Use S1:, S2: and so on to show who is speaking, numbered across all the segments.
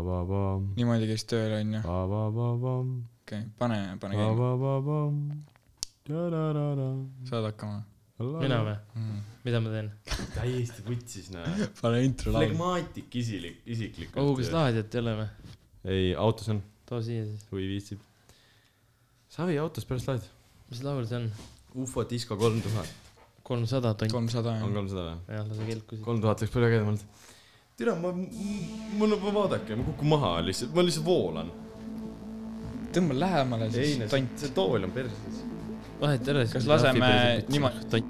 S1: niimoodi käis tööl onju , okei okay, , pane , pane käima , saad hakkama
S2: mina või ?
S1: mm. .
S2: mida ma teen ?
S3: täiesti vutsis , näe .
S1: pane intro laulu .
S3: flegmaatik isilik , isiklikult .
S2: oh , kas laadiat ei ole või ?
S3: ei , autos on ,
S2: too siia siis .
S3: huvi viitsib . Savi autos pärast laed .
S2: mis laul see on ?
S3: ufo disko kolm tuhat ,
S2: kolmsada tont .
S1: kolmsada
S3: on
S1: on .
S3: kolmsada või ?
S2: jah , lase kelku siit .
S3: kolm tuhat läks palju ägedamalt . tere , ma , mul on , vaadake , ma kukun maha lihtsalt , ma lihtsalt voolan .
S1: tõmba lähemale
S3: ei ,
S1: siis , tont .
S3: see tool on perses .
S2: vahet ei ole .
S1: kas laseme niimoodi- ?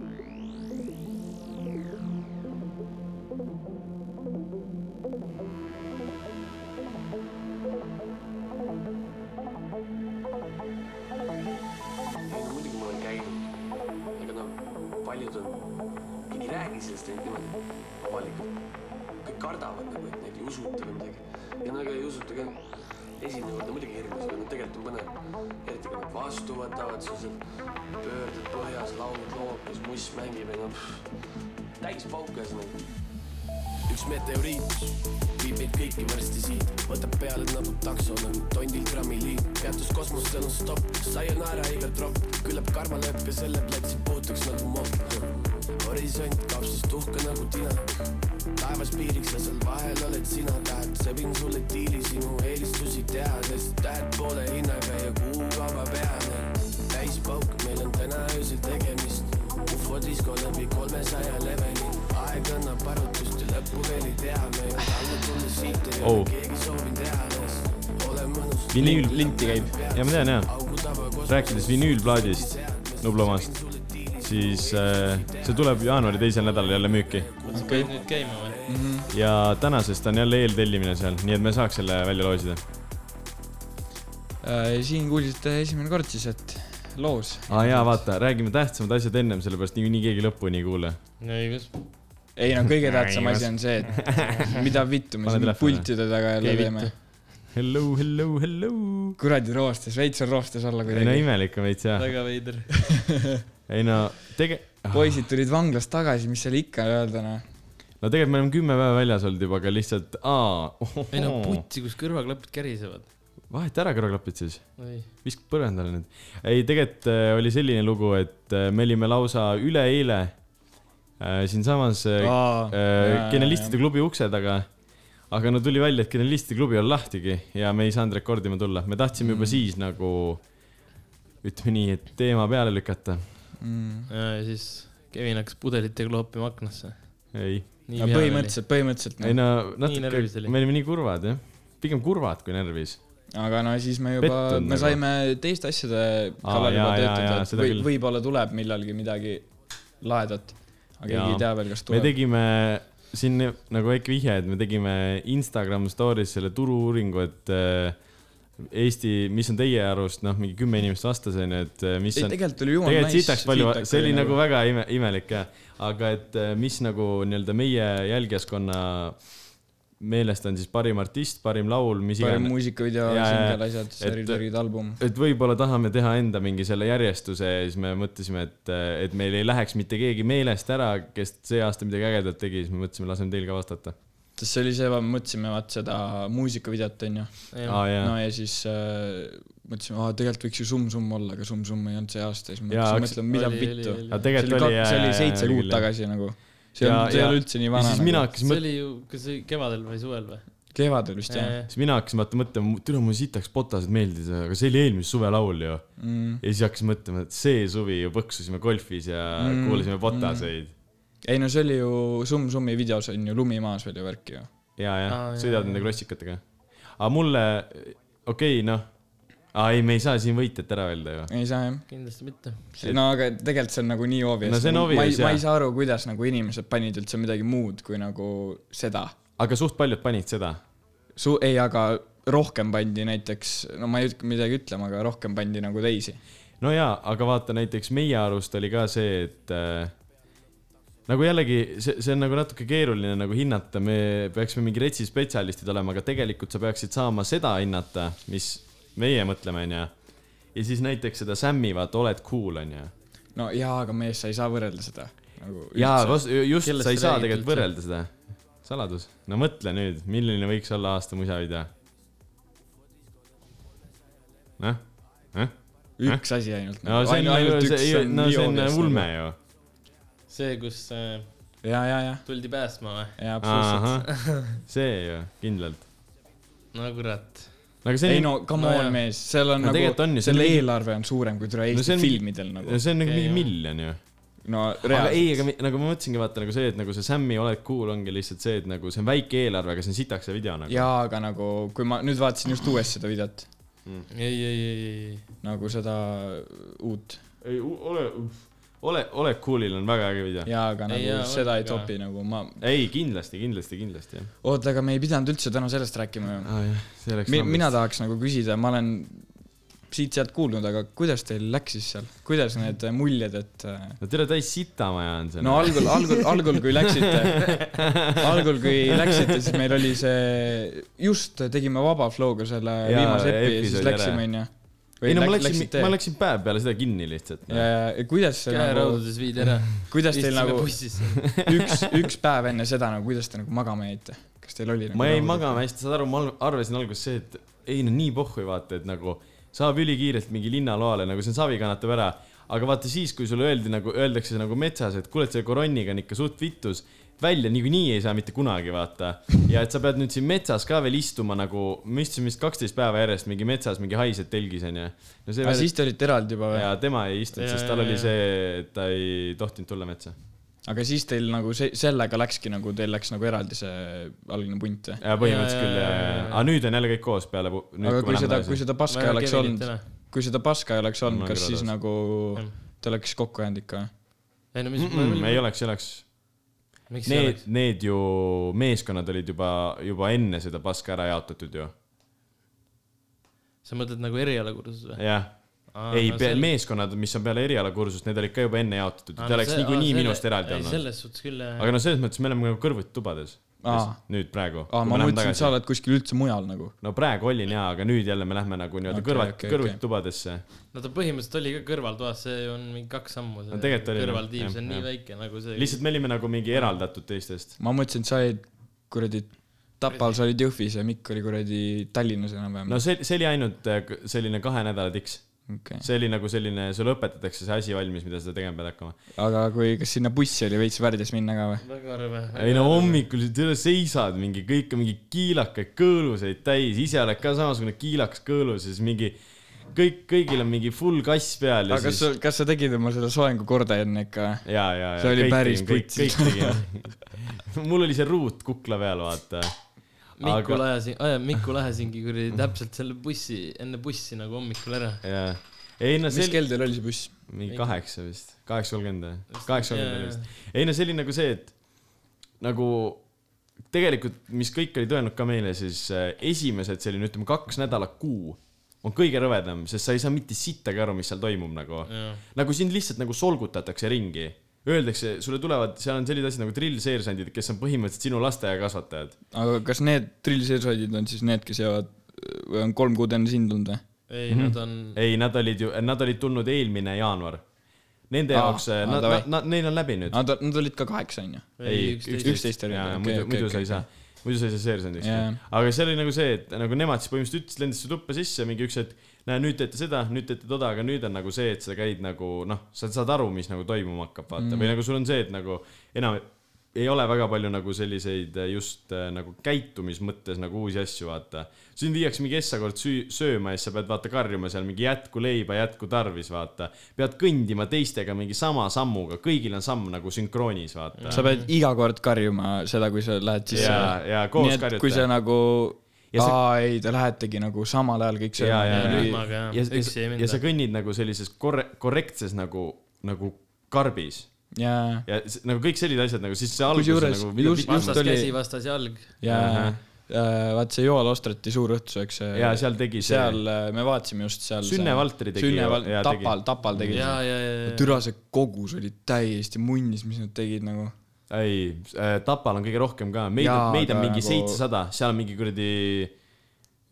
S4: ei , muidugi ma olen käinud , aga noh , paljud on , ei räägi sellest ainult niimoodi avalikult . kõik kardavad nagu , et neid ei usuta või midagi . ja no ega ei usuta ka , esimene kord on muidugi hirmus , aga no tegelikult on põnev . eriti kui nad vastu võtavad , siis on pöörded põhjas , laulud loobudes , must mängib ja noh , täis pauku ühesõnaga . üks meteoriit viib meid kõiki varsti siit , võtab peale nagu taksonoom , tondil trammiliin , peatus kosmosel on stopp , sayonara iga tropp , küllap karva lööb ja selle platsi puhtaks nagu mopp . horisont kapsas tuhka nagu tina , taevas piiriks ja seal vahel oled sina , tahad , sebin sulle diili sinu eelistusi teha , sest tähed poole hinnaga ja kuukava peale . täispauk , meil on täna öösel tegemist , ufodisko läbi kolmesaja leveli , aeg annab arutust ja lõppu veel ei tea , me ju alla tulme siit ei ole
S3: Oh.
S4: keegi soovinud eales , ole mõnus ,
S3: vinüül ,
S1: linti käib .
S3: ja ma tean jaa ,
S4: augu taba kosmos ,
S3: rääkides vinüülplaadist Nublamaast , siis äh, see tuleb jaanuari teisel nädalal jälle müüki
S2: sa pead nüüd käima või ?
S1: Mm-hmm.
S3: ja tänasest on jälle eeltellimine seal , nii et me saaks selle välja loosida .
S1: Äh, siin kuulsite esimene kord siis , et loos .
S3: aa jaa , vaata , räägime tähtsamad asjad ennem , sellepärast niikuinii keegi lõpuni ei kuule .
S2: no õigus .
S1: ei no kõige tähtsam asi on see , et mida vittu me
S3: Pane
S1: siin
S3: telefoni.
S1: pultide taga jälle
S2: Ei
S1: teeme .
S3: Hello , hello , hello .
S1: kuradi roostes , veits on roostes olla
S3: ei no
S1: kuidagi .
S3: imelik on veits jaa .
S2: väga veider .
S3: ei no tege- ,
S1: poisid tulid vanglast tagasi , mis seal ikka öelda noh .
S3: no tegelikult me oleme kümme päeva väljas olnud juba , aga lihtsalt aa
S2: ei no . putsi , kus kõrvaklapid kärisevad .
S3: vaheta ära kõrvaklapid siis
S2: oi ,
S3: viskad põrandale nüüd . ei , tegelikult äh, oli selline lugu , et äh, me olime lausa üleeile äh, siinsamas äh, äh, Genialistide klubi ukse taga . aga no tuli välja , et Genialistide klubi on lahtigi ja me ei saanud rekordima tulla , me tahtsime
S2: Mm.
S3: juba siis nagu ütleme nii , et teema peale lükata .
S1: mm. .
S2: ja siis Kevin hakkas pudelitega loopima aknasse .
S3: ei ,
S1: aga . põhimõtteliselt , põhimõtteliselt
S3: ei
S1: noh ,
S3: no
S2: Nii närvis
S3: natuke ,
S2: oli.
S3: me olime nii kurvad jah , pigem kurvad kui närvis .
S1: aga no siis me juba ,
S3: Pettunud
S1: me
S3: nagu.
S1: saime teiste asjade
S3: Aa,
S1: kallal juba
S3: jaa, jaa, jaa,
S1: töötada , et
S3: seda
S1: või,
S3: küll.
S1: võib-olla tuleb millalgi midagi lahedat . aga keegi
S3: Jaa.
S1: ei tea veel , kas
S3: me
S1: tuleb .
S3: tegime siin nagu väike vihje , et me tegime Instagram story's selle turu-uuringu , et äh, Eesti , mis on teie arust noh , mingi kümme inimest vastas onju , et äh, mis
S1: ei ,
S3: on .
S1: tegelikult oli jumala
S3: tegelikult sitaks palju , see oli nagu väga ime , imelik jah , aga et äh, mis nagu nii-öelda meie jälgijaskonna meelest on siis parim artist , parim laul , mis
S1: parem
S3: iganes .
S1: muusikavideo ,
S3: Jaa, jaa,
S1: singel asjad ,
S3: et-
S1: Seri-Tõrgid album .
S3: et võib-olla tahame teha enda mingi selle järjestuse ja siis me mõtlesime , et , et meil ei läheks mitte keegi meelest ära , kes see aasta midagi ägedat tegi , siis me mõtlesime , laseme teil ka vastata .
S1: sest see oli see , me mõtlesime vaat seda muusikavideot onju .
S3: aa jaa
S1: no ja siis äh, mõtlesime , aa tegelikult võiks ju Sum-Sum olla , aga Sum-Sum ei olnud see aasta , siis me
S3: Jaa,
S1: hakkasime
S3: hakkas-
S1: mõtlema , mida vittu .
S3: aga
S1: see
S3: tegelikult
S1: oli
S3: oli ,
S1: kaks , see oli seitse kuud . tagasi nagu . see
S3: Ja-
S1: on , see ei
S3: ja-
S1: ole üldse nii
S3: ja
S1: vana . nagu.
S3: siis mina hakkasin
S2: see
S3: mõtlema ,
S2: oli ju , kas see oli kevadel või suvel või ?
S1: kevadel vist jah .
S3: siis mina hakkasin vaata mõtlema , türa mulle sitaks botased meeldisid , aga see oli eelmise suve laul ju .
S1: Mm.
S3: ja siis hakkasin mõtlema , et see suvi ju põksusime golfis ja
S1: Mm,
S3: mm, kuulasime botaseid mm. .
S1: ei no see oli ju Sum-Sumi videos on ju lumi maas veel ju värki ju .
S3: ja , ja
S2: Aa, jaa,
S3: sõidad nende klassikatega . aga mulle , okei okay, , noh . aa ei , me ei saa siin võitjat ära öelda ju .
S1: ei saa jah .
S2: kindlasti mitte .
S1: no aga tegelikult see on nagu nii obvious .
S3: No see on
S1: ma
S3: obvious,
S1: ei , ma
S3: jah.
S1: ei saa aru , kuidas nagu inimesed panid üldse midagi muud kui nagu seda .
S3: aga suht paljud panid seda .
S1: Su- , ei , aga rohkem pandi näiteks , no ma ei hakka midagi ütlema , aga rohkem pandi nagu teisi .
S3: no jaa , aga vaata näiteks meie arust oli ka see , et äh, nagu jällegi see , see on nagu natuke keeruline nagu hinnata , me peaksime mingi retsi spetsialistid olema , aga tegelikult sa peaksid saama seda hinnata , mis meie mõtleme , onju . ja siis näiteks seda Sammi , vaata , oled cool , onju .
S1: no jaa , aga mees , sa ei saa võrrelda seda nagu
S3: jaa , just ,
S2: Kellest
S3: sa ei
S2: sa
S3: saa
S2: räägid
S3: tegelikult
S2: üldse?
S3: võrrelda seda . saladus . no mõtle nüüd , milline võiks olla aasta musavideo . noh ,
S1: üks asi ainult .
S3: no see on , see ei , no see on ulme .
S1: nagu.
S2: nagu.
S3: ju .
S2: see , kus äh,
S1: ja , ja , ja ,
S2: tuldi päästma või ?
S1: ja absoluutselt .
S3: see ju , kindlalt .
S2: no kurat .
S3: no aga see
S1: ei
S3: on ,
S1: no come
S2: no
S1: on
S2: jah.
S1: mees , seal on
S3: No tegelikult on
S1: nagu
S3: ju, , see on
S1: selle
S3: mingi-
S1: eelarve on suurem kui tule
S3: No see
S1: Eesti
S3: on-
S1: filmidel nagu .
S3: see on nagu
S2: Okei,
S3: mingi
S2: jah.
S3: miljon ju .
S1: no
S3: aga ei ,
S1: reaalselt .
S3: aga mi- nagu ma mõtlesingi , vaata nagu see , et nagu see Sam'i Oled cool ongi lihtsalt see , et nagu see on väike eelarve , aga see on sitaks see video nagu .
S1: jaa , aga nagu , kui ma nüüd vaatasin just uuesti seda videot ,
S2: ei , ei , ei , ei ,
S1: nagu seda uut .
S3: ei , ole , ole , ole cool'il on väga äge video .
S1: jaa , aga
S2: Ei,
S1: nagu
S2: jaa,
S1: seda ei
S2: väga.
S1: topi nagu ma ,
S3: ei , kindlasti , kindlasti , kindlasti jah
S1: oota , aga me ei pidanud üldse täna sellest rääkima ju .
S3: ah, . see läks
S1: Mi- , mina tahaks nagu küsida , ma olen siit-sealt kuulnud , aga kuidas teil läks siis seal , kuidas need muljed , et äh,
S3: no tere , täis sitamaja on see . noh.
S1: no algul , algul , algul , kui läksite , algul , kui läksite , siis meil oli see , just tegime Vaba Flow'ga selle
S3: Jaa,
S1: ja, viimase epi ja
S3: episoodi
S1: siis läksime , onju .
S3: ei no ma läksin , ma läksin päev peale seda kinni lihtsalt . noh.
S1: ja ja kuidas see nagu ,
S2: käeraudades viidi ära .
S1: kuidas teil
S2: istusime
S1: nagu
S2: bussisse .
S1: üks , üks päev enne seda nagu , kuidas te nagu magama jäite ? kas teil oli nagu
S3: ma jäin
S1: rahulik?
S3: magama hästi , saad aru , ma al- arvasin alguses see , et ei no nii pohhu ei vaata , et nagu saab ülikiirelt mingi linnaloale , nagu see on savi kannatab ära . aga vaata siis , kui sulle öeldi nagu , öeldakse nagu metsas , et kuule , et selle koronniga on ikka suht vitus , välja niikuinii ei saa mitte kunagi vaata . ja et sa pead nüüd siin metsas ka veel istuma nagu , me istusime vist kaksteist päeva järjest mingi metsas mingi haised telgis onju . no see
S1: aga siis te olite eraldi juba või ?
S3: ja tema ei istunud ,
S2: Ja,
S3: sest tal
S2: ja,
S3: oli
S2: ja.
S3: see , et ta ei tohtinud tulla metsa .
S1: aga siis teil nagu see , sellega läkski nagu , teil läks nagu eraldi see algne punt või ?
S3: põhimõtteliselt
S2: Ja,
S3: küll ja ,
S2: ja, ja,
S3: ja ,
S2: ja,
S3: ja
S2: ja. ,
S3: aga nüüd on jälle kõik koos peale .
S1: aga kui seda , kui seda paska ei oleks olnud , kui seda paska ei oleks
S3: Ma
S1: olnud ,
S3: olen
S1: kas
S3: ka
S1: siis
S3: rõõmus.
S1: nagu
S2: Jah.
S1: te oleks kokku jäänud ikka või ?
S2: ei no mis
S3: mm , ei , oleks , ei oleks .
S2: miks ei
S3: Need
S2: oleks ?,
S3: need ju meeskonnad olid juba , juba enne seda paska ära jaotatud ju .
S2: sa mõtled nagu erialakursus või ?
S3: jah , ei , meeskonnad , mis on peale erialakursust , need olid ka juba enne jaotatud , ta oleks niikuinii minust eraldi olnud .
S2: selles suhtes küll jah .
S3: aga no selles mõttes me oleme nagu kõrvuti tubades .
S1: Aa.
S3: nüüd praegu .
S1: aa , ma mõtlesin , et sa oled kuskil üldse mujal nagu .
S3: no praegu olin jaa , aga nüüd jälle me lähme nagu nii-öelda
S1: Okei,
S3: kõrvat ,
S1: okei,
S3: kõrvuti
S1: okei.
S3: tubadesse .
S2: no ta põhimõtteliselt oli ka kõrvaltoas , see on mingi kaks sammu .
S3: No tegelikult oli, jah.
S2: kõrvaltiim , see on
S3: Jah,
S2: nii
S3: jah.
S2: väike nagu see .
S3: lihtsalt me olime nagu mingi eraldatud teistest .
S1: ma mõtlesin , et sa olid kuradi Tapal , sa olid Jõhvis ja Mikk oli kuradi Tallinnas enam-vähem
S3: no . see , see oli ainult äh, k- selline kahe nädala tiks .
S1: okei ,
S3: see oli nagu selline , sulle õpetatakse see asi valmis , mida sa tegema pead hakkama .
S1: aga kui , kas sinna bussi oli veits värdjas minna ka või ?
S2: väga arve .
S3: ei no . hommikul sa tule seisad mingi , kõik on mingi kiilakaid kõõluseid täis , ise oled ka samasugune kiilakas kõõlus ja siis mingi kõik , kõigil on mingi full kass peal ja
S1: aga kas
S3: siis
S1: sa , kas sa tegid oma selle soengu korda enne ikka või ?
S3: ja , ja , ja .
S1: see oli päris
S3: kõik ,
S1: putsis.
S3: kõik tegime . mul oli see ruut kukla peal , vaata .
S2: Mikku
S3: Aga-
S2: lajasin , Mikku lajasingi kuradi täpselt selle bussi , enne bussi nagu hommikul ära .
S3: ja , ei no see
S1: mis
S3: oli
S1: kell teil oli see buss ?
S3: mingi kaheksa vist , kaheksa kolmkümmend või
S2: Vist- ,
S3: kaheksa kolmkümmend
S2: jaa,
S3: oli vist . ei no see oli nagu see , et nagu tegelikult , mis kõik olid öelnud ka meile , siis äh, esimesed selline , ütleme kaks nädalat kuu on kõige rõvedam , sest sa ei saa mitte sittagi aru , mis seal toimub nagu . nagu sind lihtsalt nagu solgutatakse ringi . Öeldakse , sulle tulevad , seal on sellised asjad nagu drillseersandid , kes on põhimõtteliselt sinu lasteaiakasvatajad .
S1: aga kas need trillseersaidid on siis need , kes jäävad või on kolm kuud enne sind olnud või ?
S3: Mhm.
S2: ei , nad on ,
S3: ei , nad olid ju , nad olid tulnud eelmine jaanuar . Nende
S1: Aa,
S3: jaoks ,
S1: aa,
S3: nad,
S1: davai.
S3: nad, nad , neil on läbi nüüd .
S1: Nad , nad olid ka kaheksa onju ?
S2: ei
S3: üksteist.
S2: üksteist .
S1: üksteist oli
S3: jaa ,
S1: okei,
S3: muidu ,
S1: okei,
S3: muidu sa
S1: okei,
S3: ei saa , muidu sa ei saa seersandiks
S1: Jaa.
S3: yeah. . aga seal oli nagu see , et nagu nemad siis põhimõtteliselt ütlesid , lendasid su tuppa sisse , mingi üks hetk , näe nüüd teete seda , nüüd teete toda , aga nüüd on nagu see , et sa käid nagu noh , sa saad aru , mis nagu toimuma hakkab , vaata mm. , või nagu sul on see , et nagu enam ei ole väga palju nagu selliseid äh, just äh, nagu käitumismõttes nagu uusi asju , vaata . sind viiakse mingi essakord süü- , sööma ja siis sa pead vaata karjuma seal mingi jätku leiba , jätku tarvis , vaata . pead kõndima teistega mingi sama sammuga , kõigil on samm nagu sünkroonis , vaata .
S1: sa pead iga kord karjuma seda , kui sa lähed sisse .
S3: Jaa, jaa, koos
S1: Nii et
S3: karjute.
S1: kui sa nagu ,
S3: Ja sa-
S1: aa ei , te lähetegi nagu samal ajal kõik
S3: ja , ja ,
S2: Ja
S3: ja ,
S2: rühmaga, jah.
S3: ja,
S2: Üksi ei
S3: ja,
S2: minda.
S3: ja sa kõnnid nagu sellises korre- , korrektses nagu , nagu karbis
S1: ja ,
S3: ja s- nagu kõik sellised asjad nagu siis see algus
S1: Kusjuures
S3: nagu
S1: just-
S3: mida-
S1: just-
S2: vastas
S1: oli-
S2: käsi , vastas jalg .
S1: ja
S3: Ahah. ,
S1: ja vaat see Joel Ostrati suur õhtus , eks .
S3: ja seal tegi see seal...
S1: seal äh, me vaatasime just seal .
S3: Sünne Valteri tegi
S1: Sünne
S3: ju-
S1: Val- ,
S3: jaa, tegi.
S1: Tapal , Tapal tegi
S2: ja ,
S1: seda .
S2: ja , ja ,
S1: türa see kogus oli täiesti munnis , mis nad tegid nagu .
S3: ei äh, Tapal on kõige rohkem ka meid
S1: Jaa,
S3: on , meid on
S1: aga
S3: mingi
S1: nagu-
S3: seitsesada nagu... , seal on mingi kuradi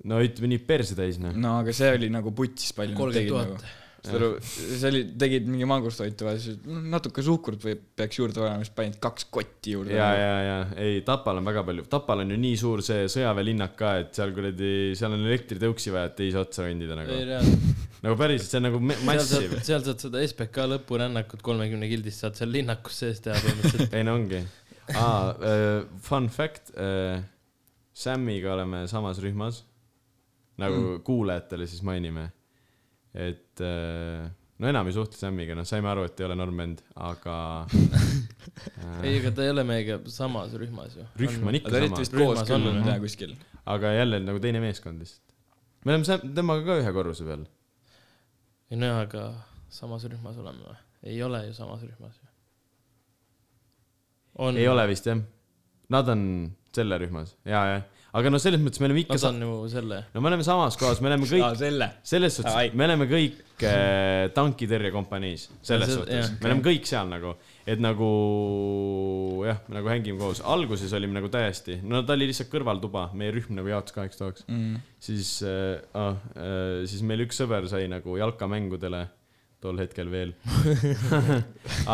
S3: no ütleme nii perse täis noh
S1: no aga see oli nagu putsis palju .
S2: kolmkümmend tuhat .
S1: saad aru , see oli , tegid mingi mangustoitu või siis natuke suhkrut või peaks juurde olema , siis panid kaks kotti juurde . nagu.
S3: ja , ja , ja ei , Tapal on väga palju , Tapal on ju nii suur see sõjaväelinnak ka , et seal kuradi , seal on elektritõuksi vaja , et teise otsa kõndida
S2: ei
S3: nagu .
S2: reaalselt ,
S3: nagu päriselt , see on nagu me-
S2: seal saad
S3: massiv .,
S2: seal saad seda SBK lõpurännakut kolmekümne gildist saad seal linnakus sees teha põhimõtteliselt .
S3: ei no ongi . aa , fun fact , Samiga oleme samas rühmas . nagu mm. kuulajatele siis mainime . et äh, no enam ei suhtle Samiga , noh , saime aru , et ei ole normend , aga äh,
S2: ei , ega ta ei ole meiega samas rühmas ju .
S3: rühm on
S1: Te
S3: ikka
S1: olite
S3: sama ,
S1: vist koos
S2: Rühmas
S1: küll
S2: on,
S1: nüüd
S2: jah.
S1: jah kuskil .
S3: aga jälle nagu teine meeskond lihtsalt . me oleme Sam- temaga ka ühe korruse peal .
S2: ei no jaa , aga samas rühmas oleme või ? ei ole ju samas rühmas ju . on
S3: ei . ole vist jah ? Nad on selle rühmas ja , ja , aga no selles mõttes me oleme ikka
S2: Nad
S3: sa- ,
S2: on ju selle ,
S3: no me oleme samas kohas , me oleme kõik
S1: aa , selle .
S3: selles
S1: Ai.
S3: suhtes , me oleme kõik äh, tankitõrjekompaniis , selles
S2: See-
S3: suhtes
S2: jah. ,
S3: me oleme kõik seal nagu , et nagu jah , me nagu hängime koos , alguses olime nagu täiesti , no ta oli lihtsalt kõrvaltuba , meie rühm nagu jaotus kaheks toaks ,
S1: Mm.
S3: siis äh, , ah, äh, siis meil üks sõber sai nagu jalkamängudele tol hetkel veel .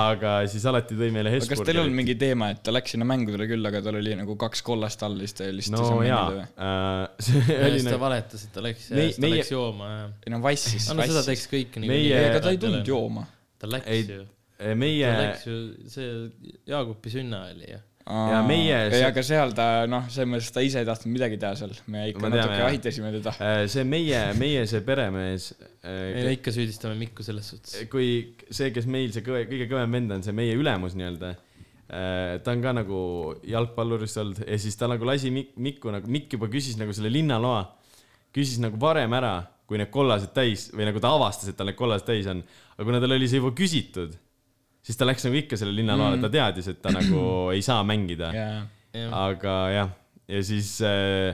S3: aga siis alati tõi meile
S1: aga kas teil on
S3: Hesburgerit .
S1: mingi teema , et ta läks sinna mängudele küll , aga tal oli nagu kaks kollast all , siis ta lihtsalt
S3: no jaa äh,
S1: või ?,
S3: see oli
S2: siis ta
S3: nagu ,
S2: valetas , et ta läks ,
S3: Meie-
S2: siis ta
S3: meie-
S2: läks jooma ja .
S1: ei no vassis ,
S2: no seda
S1: vassis .
S2: teeks kõik
S3: Meie-
S1: ega ta ei tulnud . jooma .
S2: ta läks
S3: Ei,
S2: ju , ta
S3: meie
S2: läks ju , see Jaagupi sünna oli ju .
S1: ja
S3: meie-
S1: ei , aga seal ta noh , selles mõttes ta ise ei tahtnud midagi teha seal , me ikka
S3: Ma tean,
S1: natuke
S3: jah.
S1: ahitasime teda .
S3: äh, see meie , meie see peremees äh,
S2: ei no ikka süüdistame Mikku selles suhtes .
S3: kui see , kes meil see kõve, kõige kõvem vend on , see meie ülemus nii-öelda , ta on ka nagu jalgpallurist olnud ja siis ta nagu lasi Mik- Mikku nagu , Mikk juba küsis nagu selle linnaloa , küsis nagu varem ära , kui need kollased täis või nagu ta avastas , et tal need kollased täis on , aga kuna tal oli see juba küsitud , siis ta läks nagu ikka selle linnaloale , ta teadis , et ta nagu ei saa mängida
S1: jaa ,
S3: aga jah , ja siis äh,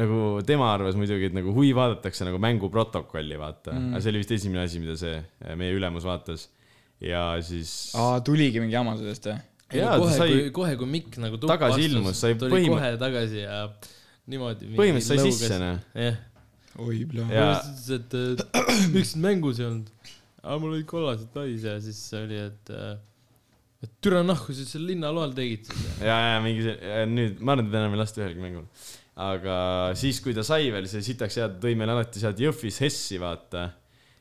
S3: nagu tema arvas muidugi , et nagu huvi vaadatakse nagu mänguprotokolli , vaata mm. . aga see oli vist esimene asi , mida see äh, meie ülemus vaatas . ja siis ah,
S1: tuligi mingi jama sellest või ?
S3: Jaa, ta
S2: kohe
S3: sai-
S2: sai... , kui kohe , kui Mikk nagu tuppa
S3: Tagasi ilmus, sai
S2: tuli
S3: põhimõ-
S2: põhim... kohe tagasi ja niimoodi .
S3: põhimõtteliselt sai sisse , noh .
S2: jah ,
S1: oi ,
S3: Ja-
S2: põhimõtteliselt , et äh, miks sind mängus ei olnud . aga mul olid kollased täis ja siis oli , et , et türa nahku sa seal linnaloal tegid siis .
S3: ja , ja mingi see , nüüd ma arvan , et teda enam ei lasta ühelgi mängul . aga siis , kui ta sai veel see sitaks head , tõi meile alati sealt Jõhvis Hessi , vaata .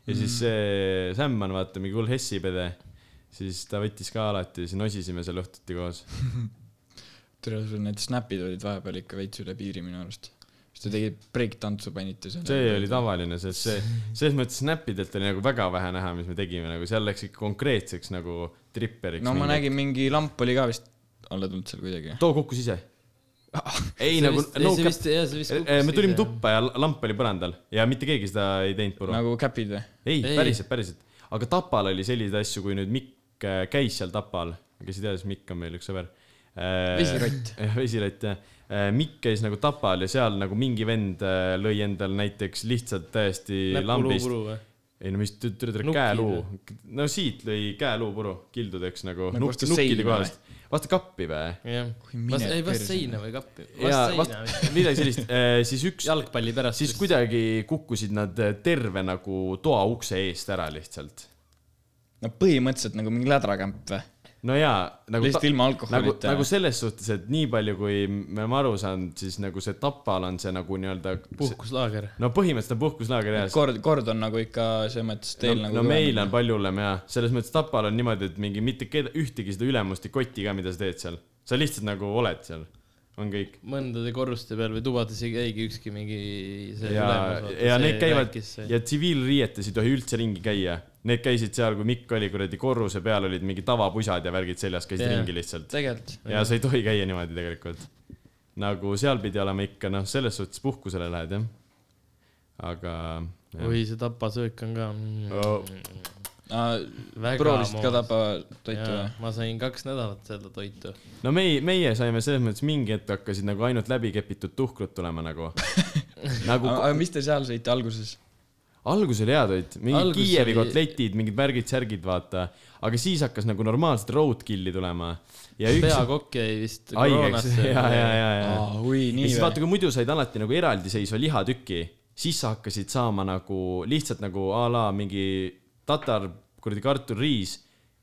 S3: ja siis see Sämman , vaata , mingi hull Hessi pede . siis ta võttis ka alati , siis nosisime seal õhtuti koos .
S1: tere , sul need snapid olid vahepeal ikka veits üle piiri minu arust . siis te tegite break-tantsu panite seal .
S3: see oli . tavaline , sest see , selles mõttes snapidelt oli nagu väga vähe näha , mis me tegime , nagu seal läks ikka konkreetseks nagu tripperiks .
S1: no ma . nägin , mingi lamp oli ka vist alla tulnud seal kuidagi .
S3: too kukkus ise . ei nagu , no
S2: see vist , jah , see vist
S3: cap- , me tulime . tuppa ja lamp oli põrandal ja mitte keegi seda ei teinud , puru .
S1: nagu käpid või ?
S3: ei ,
S2: ei.
S3: päriselt , päriselt . aga Tapal oli selliseid asju , kui nüüd Mikk äh, käis seal Tapal , kes ei tea , siis Mikk on meil üks sõber .
S1: Vesirott. .
S3: vesilott , jah . Mikk käis nagu Tapal ja seal nagu mingi vend äh, lõi endal näiteks lihtsalt täiesti lambist
S2: näpuluu või ?
S3: ei no mis tü- tüdruk
S2: Nukid
S3: käeluu , no siit lõi käeluu puru kildudeks nagu
S1: Nagu
S3: nuk,
S1: vastu
S3: nukkide
S1: seina
S3: kohast , vaata kappi või ?
S2: jah
S1: Oi, , mine
S2: vast , ei vast
S1: perse.
S2: seina või kappi ,
S3: ja
S2: vast
S3: vast
S2: seina vist.
S3: midagi sellist , siis üks ,
S2: jalgpalli pärast .
S3: siis kuidagi kukkusid nad terve nagu toa ukse eest ära lihtsalt .
S1: no põhimõtteliselt nagu mingi lädrakämp või ?
S3: no jaa , nagu
S1: lihtsalt ilma
S3: nagu ,
S1: alkoholita
S3: nagu . selles suhtes , et nii palju , kui me oleme aru saanud , siis nagu see Tapal on see nagu nii-öelda ,
S2: puhkuslaager .
S3: no põhimõtteliselt on puhkuslaager jah .
S1: kord , kord on nagu ikka selles mõttes teil
S3: no,
S1: nagu .
S3: no meil on . palju hullem jaa , selles mõttes Tapal on niimoodi , et mingi mitte keda , ühtegi seda ülemust ei koti ka , mida sa teed seal . sa lihtsalt nagu oled seal , on kõik .
S2: mõndade korruste peal või tubades ei käigi ükski mingi see
S3: ja
S2: ülemus .,
S3: ja need käivad ja tsiviilriietes ei tohi üldse ringi käia . Need käisid seal , kui Mikk oli kuradi korruse peal , olid mingi tavapusad ja värgid seljas , käisid
S2: Jaa.
S3: ringi lihtsalt .
S1: tegelikult .
S3: ja sa ei tohi käia niimoodi tegelikult . nagu seal pidi olema ikka noh , selles suhtes puhkusele lähed jah . aga .
S2: oi , see tapasöök on ka mm,
S3: Oh.
S2: väga
S1: proovisid ka tapa toitu
S2: Jaa,
S1: või ?
S2: ma sain kaks nädalat seda toitu .
S3: no meie , meie saime selles mõttes mingi hetk hakkasid nagu ainult läbikepitud tuhkrud tulema nagu . nagu
S1: aga mis te seal sõite alguses ?
S3: algus oli hea toit , mingid
S2: Algus
S3: Kiievi
S2: oli-
S3: kotletid , mingid värgid-särgid , vaata . aga siis hakkas nagu normaalselt roadkill'i tulema . ja üks .
S2: peakokk jäi vist
S3: haigeks ,
S2: koroonasse .
S3: ja , ja , ja , ja .
S1: aa , oi ,
S3: ja
S1: nii
S3: siis
S1: või ?
S3: vaata , kui muidu said alati nagu eraldiseisva lihatüki , siis sa hakkasid saama nagu lihtsalt nagu a la mingi tatar , kuradi kartuliriis .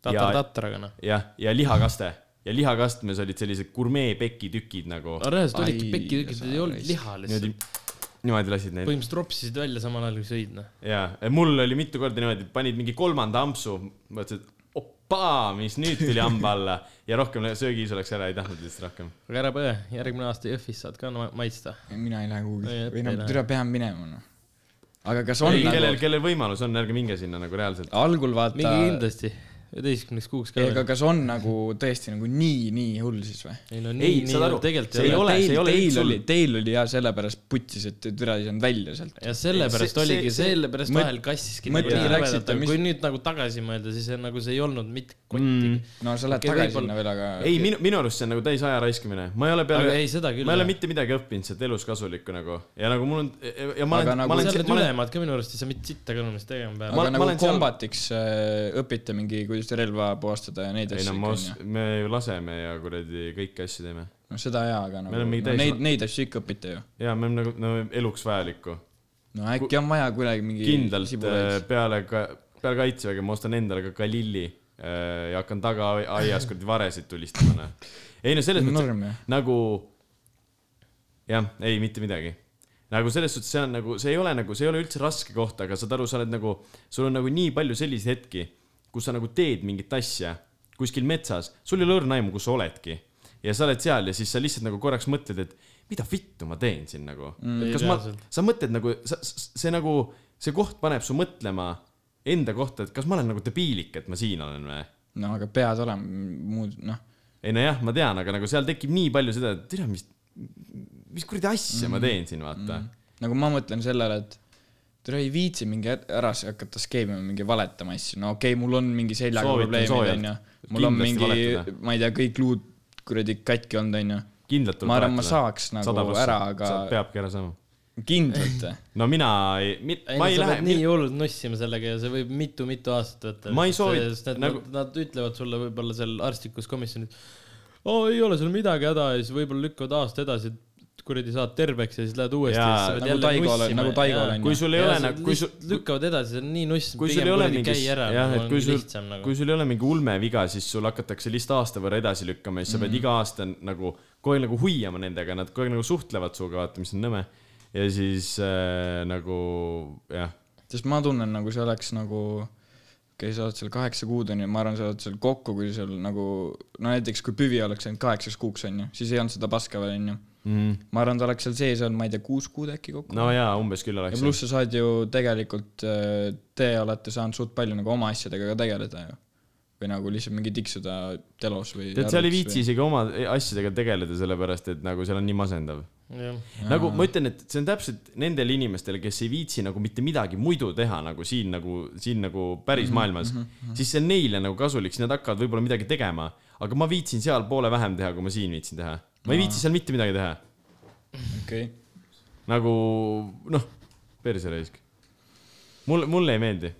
S2: tatar-tataraga noh .
S3: jah , ja lihakaste ja lihakastmes olid sellised gurmee pekitükid nagu ,
S2: aga reaalselt olidki
S1: Ai,
S2: pekkitükid , need ei olnud
S1: raisk.
S2: liha
S3: niimoodi
S2: lihtsalt .
S3: niimoodi lasid neid .
S2: põhimõtteliselt ropsisid välja samal ajal kui sõid noh .
S3: ja mul oli mitu korda niimoodi , panid mingi kolmanda ampsu , mõtlesid , et opaa , mis nüüd tuli hamba alla ja rohkem söögiis oleks ära , ei tahtnud lihtsalt rohkem .
S2: aga ära põe , järgmine aasta Jõhvis saad ka ma- maitsta .
S1: mina ei lähe
S2: Ei,
S1: kuhugi
S2: et
S1: või
S2: ei
S1: noh ,
S2: lähe.
S1: türa pean minema noh . aga kas on
S3: ei , kellel ,
S1: nagu
S3: kellel võimalus on , ärge minge sinna nagu reaalselt .
S1: algul
S2: mingi
S1: vaata ,
S2: kindlasti , üheteistkümneks kuuks ka .
S1: ega kas on nagu tõesti nagu nii , nii hull siis või ?
S2: ei no
S3: Ei,
S2: nii , nii
S3: saad aru,
S2: tegelikult
S3: see ei ole-
S1: teil ,
S3: ole üldse
S1: teil
S3: hull.
S1: oli , teil oli ja sellepärast putsis , et türa ei saanud välja sealt .
S2: ja sellepärast
S3: See- see-
S2: oligi ,
S3: see-
S2: sellepärast
S1: mõt-
S2: vahel kassiski
S1: mõtli
S2: nii
S1: läksite,
S2: rabedalt, aga
S1: mis-
S2: kui nüüd nagu tagasi mõelda , siis see nagu see ei olnud mitte kotti mm. .
S1: no sa lähed
S2: Okei,
S1: tagasi
S2: võib-olla-
S1: sinna veel , aga
S3: ei , minu , minu arust see on nagu täis aja raiskamine , ma ei ole peale
S2: aga , ei , seda küll .
S3: ma ei ole mitte midagi õppinud sealt elus kasulikku nagu ja nagu mul on ja ma
S1: Aga
S3: olen ,
S1: nagu
S3: ma
S2: ma
S3: olen ,
S2: seal need
S3: ma olen ,
S2: ülemad ka minu arust ei saa mitte sitta ka enam tegema
S1: aga
S2: peale .
S3: ma-
S1: ma, nagu
S3: olen seal-
S1: kombatiks seal... õpite mingi , kuidas relva puhastada ja neid
S3: ei
S1: asju
S3: no ma
S1: ikka
S3: os-
S1: onju .,
S3: me ju laseme ja kuradi kõiki asju teeme .
S1: no seda jaa , aga
S3: Meil
S1: nagu
S3: on mingi
S1: no,
S3: täis-
S1: neid , neid asju ikka õpite ju .
S3: ja me oleme nagu no, eluks vajalikku .
S1: no äkki on vaja kuidagi mingi
S3: kindlalt äh,
S1: sibulaid.
S3: peale ka, , peale kaitseväge ma ostan endale ka Galilli äh, ja hakkan tagaaias kuradi varesid tulistama , noh . ei no selles mõttes ,
S1: norm ju .
S3: nagu jah , ei mitte midagi . nagu selles suhtes , see on nagu , see ei ole nagu , see ei ole üldse raske koht , aga saad aru , sa oled nagu , sul on nagu nii palju selliseid hetki , kus sa nagu teed mingit asja kuskil metsas , sul ei ole õrna aimu , kus sa oledki . ja sa oled seal ja siis sa lihtsalt nagu korraks mõtled , et mida vittu ma teen siin nagu mm, . kas ma ,
S2: reaalselt.
S3: sa mõtled nagu , sa , see nagu , see koht paneb su mõtlema enda kohta , et kas ma olen nagu debiilik , et ma siin olen või
S1: no aga pead olema muud , noh .
S3: ei nojah , ma tean , aga nagu seal tekib nii palju seda , et tere , mis , mis kuradi asja mm.
S2: Mhm.
S3: ma teen siin , vaata mm. .
S1: nagu ma mõtlen sellele , et tere ei viitsi mingi ä- ära s- hakata skeemima mingi valetama asju , no okei okay, , mul on mingi seljaga
S3: Soovitan
S1: probleemid
S3: soojalt.
S1: onju . mul on
S3: Kindlasti
S1: mingi
S3: valetada. ,
S1: ma ei tea , kõik luud kuradi katki olnud onju .
S3: kindlalt
S1: ma arvan , ma saaks nagu ära , aga
S3: peabki ära saama .
S1: kindlalt
S3: no mina ei ,
S2: ei ,
S3: ma
S2: sa
S3: ei
S2: lähe,
S3: lähe
S2: pead , nii hullult nussima sellega ja see võib mitu-mitu aastat võtta .
S3: Ma ei soovi-
S2: nagu...
S3: nagu- .
S2: Nad ütlevad sulle võib-olla seal arstlikus komisjonis , oo ei ole sul midagi häda ja siis võib-olla lükkavad aasta edasi , et kuradi saad terveks ja siis lähed uuesti .
S3: Jaa,
S1: nagu Taigol- nagu Taigol on ju.
S3: kui sul ei ole nagu , kui sul ,
S2: lükkavad edasi , see on nii nuss ,
S3: kui sul ei
S2: pigem
S3: ole
S2: kuradi
S3: mingi
S2: käi , ära ,
S3: jah , et kui
S2: on
S3: sul
S2: lihtsam , nagu .
S3: kui sul ei ole mingi ulmeviga , siis sul hakatakse lihtsalt aasta võrra edasi lükkama ja siis sa
S2: Mhm.
S3: pead iga aasta nagu kogu aeg nagu hoiama nendega , nad kogu aeg nagu suhtlevad sinuga , vaata , mis on nõme . ja siis äh, nagu jah ,
S1: sest ma tunnen nagu see oleks nagu , okei , sa oled seal kaheksa kuud onju , ma arvan , sa oled seal kokku , kui seal nagu , no näiteks kui püvi oleks ainult kaheksaks kuuks onju , siis ei olnud seda paska veel onju .
S3: Mhm.
S1: ma arvan , ta oleks seal sees olnud , ma ei tea , kuus kuud äkki kokku .
S3: no jaa , umbes küll
S1: ja
S3: oleks .
S1: pluss sa saad ju tegelikult , te olete saanud suht palju nagu oma asjadega ka tegeleda ju . või nagu lihtsalt mingi tiksuda telos või .
S3: tead , seal ei viitsi . isegi oma eh, asjadega tegeleda , sellepärast et nagu seal on nii masendav .
S2: jah ,
S3: nagu ma ütlen , et see on täpselt nendele inimestele , kes ei viitsi nagu mitte midagi muidu teha nagu siin nagu , siin nagu päris
S1: Mhm,
S3: maailmas mm , -hmm. siis see on neile nagu kasulik , siis nad hakkavad võib-olla midagi tegema . aga ma viitsin seal poole vähem teha , kui ma siin viitsin teha . ma ei viitsi seal mitte midagi teha .
S1: okei ,
S3: nagu noh , perse raisk . mulle , mulle ei meeldi .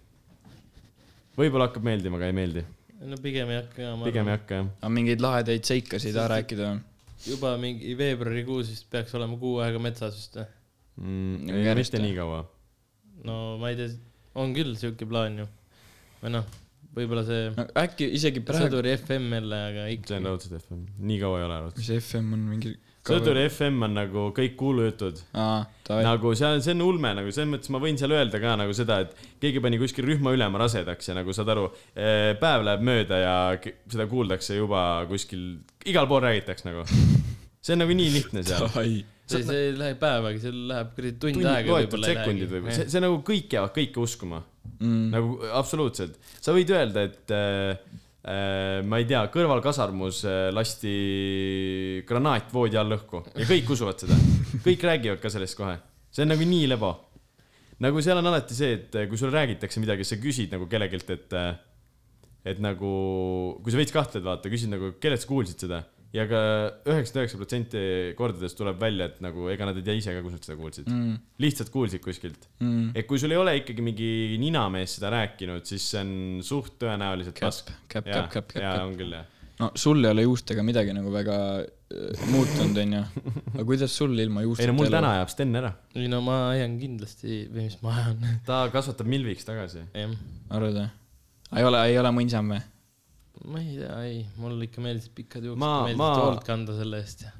S3: võib-olla hakkab meeldima , aga ei meeldi .
S2: no pigem ei hakka enam .
S3: pigem ei hakka jah .
S1: aga mingeid lahedaid seike sa ei taha rääkida või ?
S2: juba mingi veebruarikuus vist peaks olema kuu aega metsas vist või ?
S3: Mm,
S1: Nagu
S3: ei,
S1: järjest,
S3: mitte
S1: jah.
S3: nii kaua .
S2: no ma ei tea , on küll siuke plaan ju . või noh , võib-olla see no,
S1: no äkki isegi praegu ,
S2: Sõduri FM jälle , aga
S3: see on
S2: ikka .
S3: raudselt FM , nii kaua ei ole raudselt .
S1: mis FM on mingi .
S3: Sõduri FM on nagu kõik kuulujutud .
S1: aa , davai .
S3: nagu seal , see on ulme nagu selles mõttes ma võin seal öelda ka nagu seda , et keegi pani kuskil rühmaülema rasedaks ja nagu saad aru , päev läheb mööda ja k- seda kuuldakse juba kuskil , igal pool räägitakse nagu . see on nagu nii lihtne seal .
S1: davai .
S2: see , see ei lähe päevagi , seal läheb kuradi tund
S3: tunnid ,
S2: aega
S3: loetud
S2: võib-olla .
S3: sekundid võib-olla , see , see nagu kõik jäävad kõike uskuma
S1: Mm.
S3: nagu absoluutselt , sa võid öelda , et äh, äh, ma ei tea , kõrvalkasarmus äh, lasti granaat voodi all õhku ja kõik usuvad seda , kõik räägivad ka sellest kohe , see on nagu nii lebo . nagu seal on alati see , et äh, kui sulle räägitakse midagi , sa küsid nagu kellelgi , et äh, et nagu , kui sa veits kahtled , vaata , küsid nagu , kellelt sa kuulsid seda ja ka üheksakümmend üheksa protsenti kordadest tuleb välja , et nagu ega nad ei tea ise ka , kus nad seda kuulsid mm. . lihtsalt kuulsid kuskilt mm. . et kui sul ei ole ikkagi mingi ninamees seda rääkinud , siis see on suht tõenäoliselt
S1: Käpp,
S3: raske.
S1: käpp,
S3: Jaa,
S1: käpp, käpp, käpp,
S3: jaa,
S1: käpp.
S3: on küll jah .
S1: no sul ei ole juustega midagi nagu väga äh, muutunud , onju . aga kuidas sul
S3: ei
S1: ilma juusteta
S3: no mul täna ajab Sten ära .
S2: ei no ma ajan kindlasti , või mis ma ajan ,
S3: ta kasvatab milviks tagasi .
S2: jah .
S1: arvad või ? ei ole , ei ole mõnsam või ?
S2: ma ei tea , ei , mulle ikka meeldisid pikad juuksed ,
S3: Ma-
S2: meeldis
S3: ma-
S2: hoolt kanda selle eest ja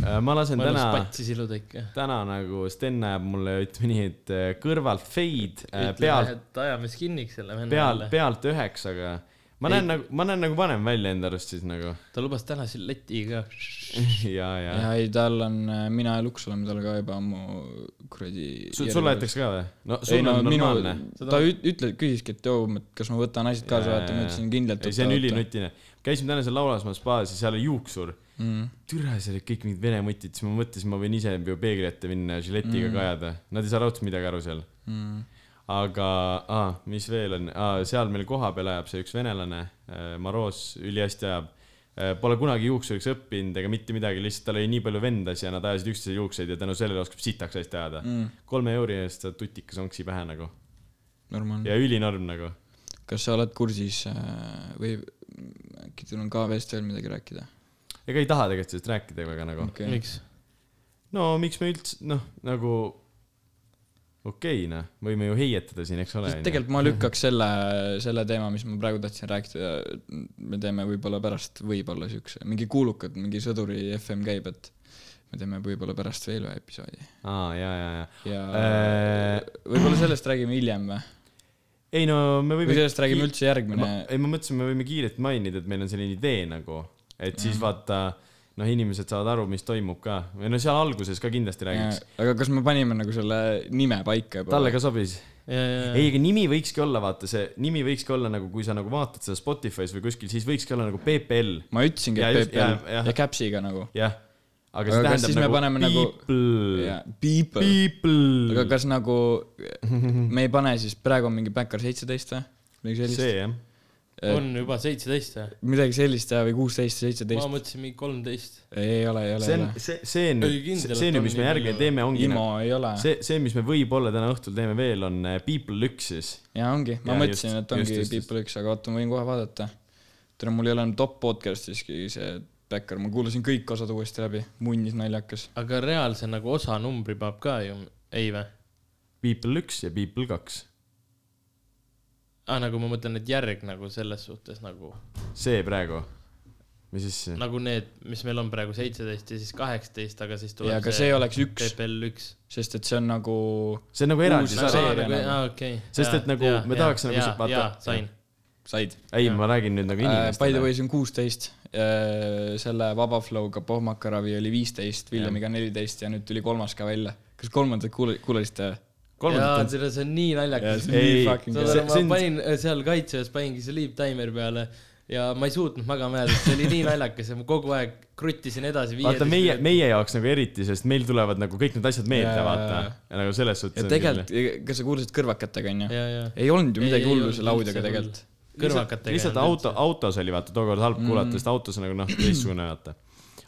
S3: Äh, ma lasen
S2: ma elus
S3: täna ,
S2: patsi siluda ikka .
S3: täna nagu Sten näeb mulle , ütleme nii , et äh, kõrvalt fade , pealt ,
S2: ajame skinniks selle venna
S3: Äh, peal
S2: alla ,.
S3: pealt üheksaga . ma
S2: Ei.
S3: näen nagu , ma näen nagu vanem välja enda arust siis nagu .
S2: ta lubas täna siin Läti ka .
S3: ja , ja, ja. .
S1: ja ei , tal on , mina ja Luks oleme tal ka juba ammu kuradi .
S3: sul , sulle jäetakse ka või ? no
S1: ei
S3: sul
S1: no
S3: on
S1: minu
S3: normaalne .,
S1: ta üt- ütle , küsiski , et joo , kas ma võtan asjad kaasa , vaata , ma ütlesin kindlalt .
S3: ei , see on ülinutine . käisime täna seal Laulasmaa spaas ja seal oli juuksur .
S1: Mm,
S3: türa , seal olid kõik mingid vene mutid , siis ma mõtlesin , ma võin ise ju peegli ette minna ja žiletiga mm. kajada . Nad ei saa raudselt midagi aru seal .
S1: mm,
S3: aga ah, , mis veel on ah, , seal meil kohapeal ajab see üks venelane , Maroos , ülihästi ajab . Pole kunagi juuksuriks õppinud ega mitte midagi , lihtsalt tal oli nii palju vendas ja nad ajasid üksteise juukseid ja tänu sellele oskab sitaks hästi ajada mm. . kolme euri eest saad tutikas onksi pähe nagu
S1: normaalne .
S3: ja ülinorm nagu .
S1: kas sa oled kursis äh, või äkki sul on KV-st veel midagi rääkida ?
S3: ega ei taha tegelikult sellest rääkida väga nagu .
S1: okei ,
S2: miks ?
S3: no miks me üldse , noh , nagu okei okay, , noh , võime ju heietada siin , eks ole .
S1: tegelikult ma lükkaks selle , selle teema , mis ma praegu tahtsin rääkida , me teeme võib-olla pärast , võib-olla siukse , mingi kuulukad , mingi sõduri FM käib , et me teeme võib-olla pärast veel ühe episoodi
S3: aa , ja , ja , ja .
S1: ja
S3: Äh,
S1: võib-olla sellest räägime hiljem või ,
S3: ei no me võime .
S1: või sellest räägime üldse järgmine
S3: ma, . ei , ma mõtlesin , me võime kiirelt mainida , et meil on selline idee nagu , et siis
S1: Mhm.
S3: vaata , noh , inimesed saavad aru , mis toimub ka . või no seal alguses ka kindlasti räägiks .
S1: aga kas me panime nagu selle nime paika juba ?
S3: talle ka sobis .
S2: ja , ja ,
S3: ei , aga nimi võikski olla , vaata see , nimi võikski olla nagu , kui sa nagu vaatad seda Spotify's või kuskil , siis võikski olla nagu PPL ,
S1: ma ütlesingi ,
S3: Jaa,
S1: et
S3: just-
S1: PPL
S3: jaa, jah.
S1: ja Capsiga nagu .
S3: jah . aga
S1: Aga
S3: see
S1: kas
S3: tähendab
S1: siis me paneme
S3: nagu
S1: nagu-
S3: people ,
S1: People .
S3: people
S1: aga . kas nagu me ei pane siis , praegu on mingi Backyard seitseteist või ? midagi
S3: see
S1: sellist ?
S3: jah .
S2: on juba seitseteist või ?
S1: midagi sellist jah , või kuusteist ,
S2: ma
S1: seitseteist .
S2: mõtlesin mingi kolmteist .
S1: ei ole , ei ole ,
S3: see
S1: ei
S3: on
S1: ole .,
S3: see , see on
S2: Ei, , kindel,
S3: see on ju ,
S2: et
S3: mis
S2: on
S3: me
S2: nii
S3: järgi
S2: palju.
S3: teeme , ongi .
S1: Imo ei ole .
S3: see , see , mis me võib-olla täna õhtul teeme veel , on äh, People üks siis .
S1: ja ongi , ma
S3: Jaa,
S1: mõtlesin ,
S3: just,
S1: et ongi
S3: just, just, just.
S1: People üks , aga oota , ma võin kohe vaadata . tere , mul ei ole enam top podcast'iski see Backyard , ma kuulasin kõik osad uuesti läbi , munnis naljakas .
S2: aga reaalse nagu osanumbri peab ka ju , ei või ?
S3: People üks ja People kaks .
S2: aa , nagu ma mõtlen , et järg nagu selles suhtes nagu ,
S3: see praegu . äh, mis asja ?
S2: nagu need , mis meil on praegu seitseteist ja siis kaheksateist , aga siis tuleb
S1: ja aga see oleks üks ,
S2: PPL üks .
S1: sest et see on nagu
S3: see on nagu eraldi
S1: Uus
S3: sari .
S1: seeria nagu.
S2: okei .
S3: Sest et nagu me tahaks nagu
S2: ja,
S3: see- vaata-
S2: vaata . jaa , sain .
S1: said .
S3: ei , ma räägin nüüd nagu
S1: Äh, By the
S3: inimestele
S1: way , . see on kuusteist , selle Vaba Flow'ga pohmakaravi oli viisteist , Villemiga neliteist ja nüüd tuli kolmas ka välja . kas kolmandat kuule- , kuulasite ?
S2: jaa ,
S3: kolmandat on .
S2: see on nii naljakas .
S3: Ei,
S2: saad
S3: See-
S2: aru , ma
S3: see on-
S2: panin äh, seal kaitseväes paningi sleep timer peale ja ma ei suutnud magama jääda , see oli nii naljakas ja ma kogu aeg kruttisin edasi .
S3: vaata meie , meie jaoks nagu eriti , sest meil tulevad nagu kõik need asjad meelde
S1: Jaa. ,
S3: vaata . nagu selles suhtes .
S1: ja tegelikult , kas sa kuulasid kõrvakatega , onju ?
S2: ja , ja .
S1: ei olnud ju midagi hullu selle laudega tegelikult ..
S2: kõrvakatega .
S3: lihtsalt auto , autos oli vaata tookord halb kuulata mm. , sest autos on nagu noh , teistsugune vaata .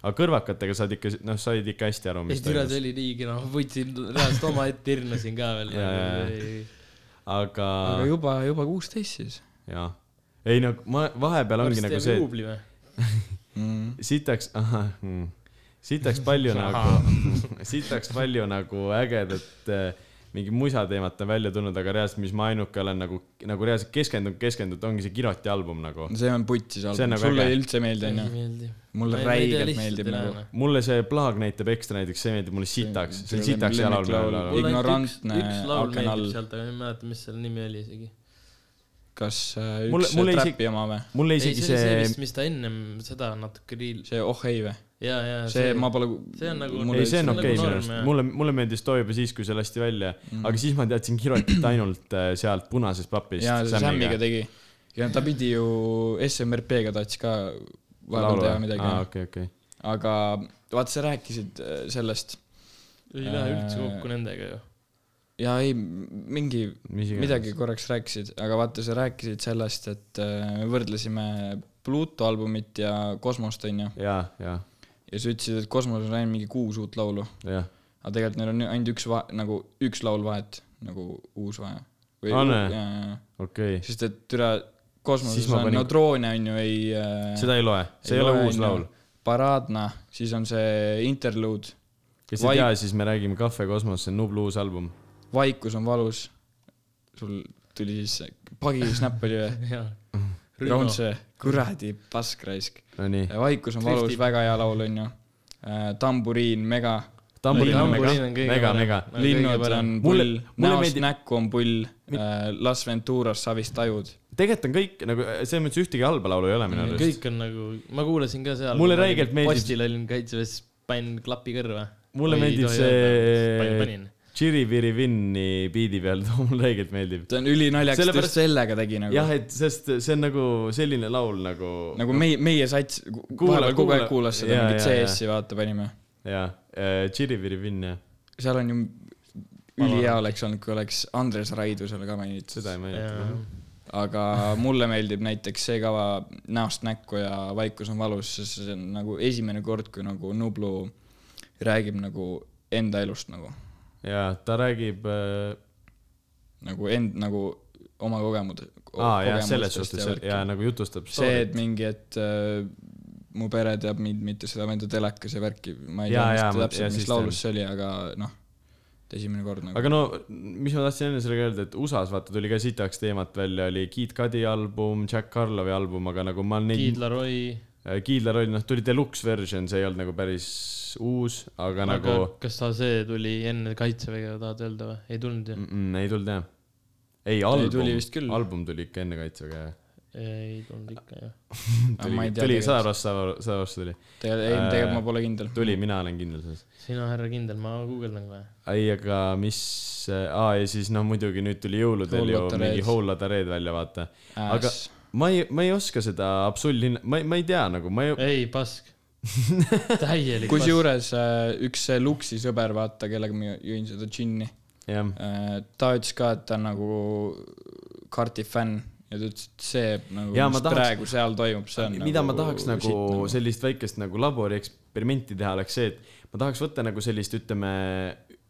S3: aga kõrvakatega saad ikka , noh , said ikka hästi aru ,
S2: ei
S3: mis
S2: türa , see oli nii kena , ma võtsin reaalselt omaette irnasin ka veel
S3: Jaa, jaa, . aga,
S1: aga juba , juba kuusteist siis .
S3: jaa . ei no ma , vahepeal ongi nagu see ,
S2: juubli või ?
S3: et sitaks , ahah mm, , sitaks palju nagu , sitaks palju nagu ägedat eh, mingi musateemat on välja tulnud , aga reaalselt , mis ma ainuke olen nagu , nagu reaalselt keskendunud , keskendunud , ongi see Kiroti album nagu .
S1: see on putsi see
S3: See on
S1: album ,
S3: nagu
S1: sulle
S3: äge.
S1: ei üldse meeldi , onju ? Mulle räigelt meeldib nagu-
S3: mulle see Plaag näitab ekstra näiteks , see meeldib mulle sitaks , see on sitaks ja laul .
S1: Ignorantne
S2: üks laul
S1: aken all.
S2: meeldib sealt , aga ma ei mäleta , mis selle nimi oli isegi .
S1: kas äh,
S3: Mulle-
S1: üks
S3: mulle
S1: mulle,
S3: isegi-
S1: trapi oma või ?
S3: mulle
S2: ei , see
S3: isegi
S2: oli see
S3: see
S2: vist , mis ta ennem seda natuke riil- .
S1: see Oh ei või ?
S2: ja , ja .
S1: see , ma pole .
S2: see on nagu-
S3: ei , see on
S2: üldse-
S3: okei
S2: nagu
S3: minu
S2: norm,
S3: arust
S2: jah. , Mhm.
S3: mulle , mulle meeldis too juba siis , kui see lasti välja mm. , aga siis ma teadsin Kirotit ainult äh, sealt punasest papist .
S1: jaa , see Sammiga tegi . ja ta pidi ju SMRP-ga tahtis ka vahepeal teha midagi
S3: aa , okei , okei .
S1: aga vaata , sa rääkisid äh, sellest
S2: ei lähe üldse
S3: Äh.
S2: kokku nendega ju .
S1: ja ei , mingi , midagi . korraks rääkisid , aga vaata , sa rääkisid sellest , et äh, me võrdlesime Pluto albumit ja Kosmost , onju .
S3: jaa , jaa ,
S1: ja sa ütlesid , et Kosmoses on ainult mingi kuus uut laulu .
S3: jah .
S1: aga tegelikult neil on ainult üks va- , nagu üks laul vahet , nagu uus vahe .
S3: On või?
S1: jaa ,
S3: okei
S1: jaa , , sest et üle Kosmoses
S3: ma
S1: on ,
S3: panin-
S1: no Droone on ju ei äh,
S3: seda ei loe , see ei
S1: Ei
S3: ole
S1: loe,
S3: uus
S1: on ju.
S3: laul .
S1: Paradna , siis on see interluud ,
S3: kes ei
S1: Vaik-
S3: tea , siis me räägime Cafe Cosmos , see on Nublu uus album .
S1: Vaikus on valus . sul tuli siis , pagisnäpp oli või ?
S2: jaa .
S1: Raunse , kuradi paskraisk .
S3: Nonii ,
S1: Vaikus on valus ,
S2: Kristi-
S1: väga hea laul onju . tamburiin , mega .
S3: tamburiin on mega
S2: Tamburiin , on kõige
S3: mega ,
S2: parem.
S3: mega .
S1: linnud on
S3: Mulle-
S1: pull ,
S3: mulle
S1: näost
S3: meeldib-
S1: näkku on pull . Las Venturas savist tajud .
S3: tegelikult on kõik nagu , selles mõttes ühtegi halba laulu ei ole minu arust .
S2: kõik on nagu , ma kuulasin ka seal .
S3: Mulle räigelt meeldib-
S2: postil olin kaitseväes , panin klapi kõrva .
S3: Mulle meeldib see-
S2: panin ,
S3: Chiri Viri Vinni biidi peal , too mulle õigelt meeldib .
S1: ta on ülinaljakas , ta
S3: Sellepärast-
S1: just sellega tegi nagu
S3: jah ,. et sest see on nagu selline laul nagu .
S1: nagu meie , meie sats ,
S3: Kuula-
S1: vahepeal kogu aeg
S3: kuula-
S1: kuulas seda
S3: jaa,
S1: mingit
S3: jaa, jaa.
S1: CS-i vaata panime .
S3: jaa , Äh, Chiri Viri Vinn jah ,
S1: seal on ju ülihea oleks olnud , kui oleks Andres Raidu seal ka mainitud .
S3: seda ei
S2: panin .
S3: maininud .
S1: aga mulle meeldib näiteks see kava Näost näkku ja Vaikus on valus , sest see on nagu esimene kord , kui nagu Nublu räägib nagu enda elust nagu ,
S3: jaa , ta räägib äh,
S1: nagu end , nagu oma kogemud- .
S3: aa jaa , selles suhtes jaa , nagu jutustab
S1: see ,
S3: story't
S1: et mingi , et äh, mu pere teab mind , mitte seda venda telekas ja värki , ma ei
S3: Jaa, jaa,
S1: tea
S3: ma-
S1: mis
S3: jaa,
S1: täpselt ,
S3: siis
S1: mis laulus see oli , aga noh , et esimene kord nagu .
S3: aga no , mis ma tahtsin enne sellega öelda , et USA-s vaata tuli ka sitaks teemat välja , oli Kid Cudi album , Jack Karlovi album , aga nagu ma neid ,
S2: Kiidla Roy .
S3: Kiidlar oli noh , tuli deluxe version , see ei olnud nagu päris uus , aga nagu
S2: aga kas ta see tuli enne kaitseväge , tahad öelda või ? ei tulnud ju ?
S3: mm, mm, ei tulnud jah . ei , album
S1: tuli vist küll. ,
S3: album tuli ikka enne kaitsega jah .
S2: ei tulnud ikka jah .
S1: ma
S3: tuli
S1: ei , tea
S3: tuli sada
S1: tegelikult.
S3: prossa , sada prossa tuli .
S1: tegelikult , ei
S3: Äh, ,
S1: tegelikult ma pole kindel .
S3: tuli , mina olen kindel selles .
S2: sina , härra kindel , ma guugeldan kohe .
S3: ei , aga mis , aa ja siis noh , muidugi nüüd tuli jõuludel
S1: Whole
S3: ju
S1: Lotta
S3: mingi
S1: Red.
S3: Whole Lotta Red välja vaata . aga
S1: aga
S3: ma ei , ma ei oska seda absoluutselt , ma ei , ma ei tea nagu , ma ei ,
S2: ei , pask . täielik pask .
S1: kusjuures äh, üks see Luksi sõber , vaata , kellega ma jõin seda džinni
S3: jah
S1: äh, , ta ütles ka , et ta on nagu Carti fänn ja ta ütles , et see nagu ,
S3: Jaa,
S1: mis
S3: ma tahaks-
S1: praegu seal toimub , see on
S3: mida ma tahaks nagu
S1: shit, nagu.
S3: sellist väikest nagu laborieksperimenti teha , oleks see , et ma tahaks võtta nagu sellist , ütleme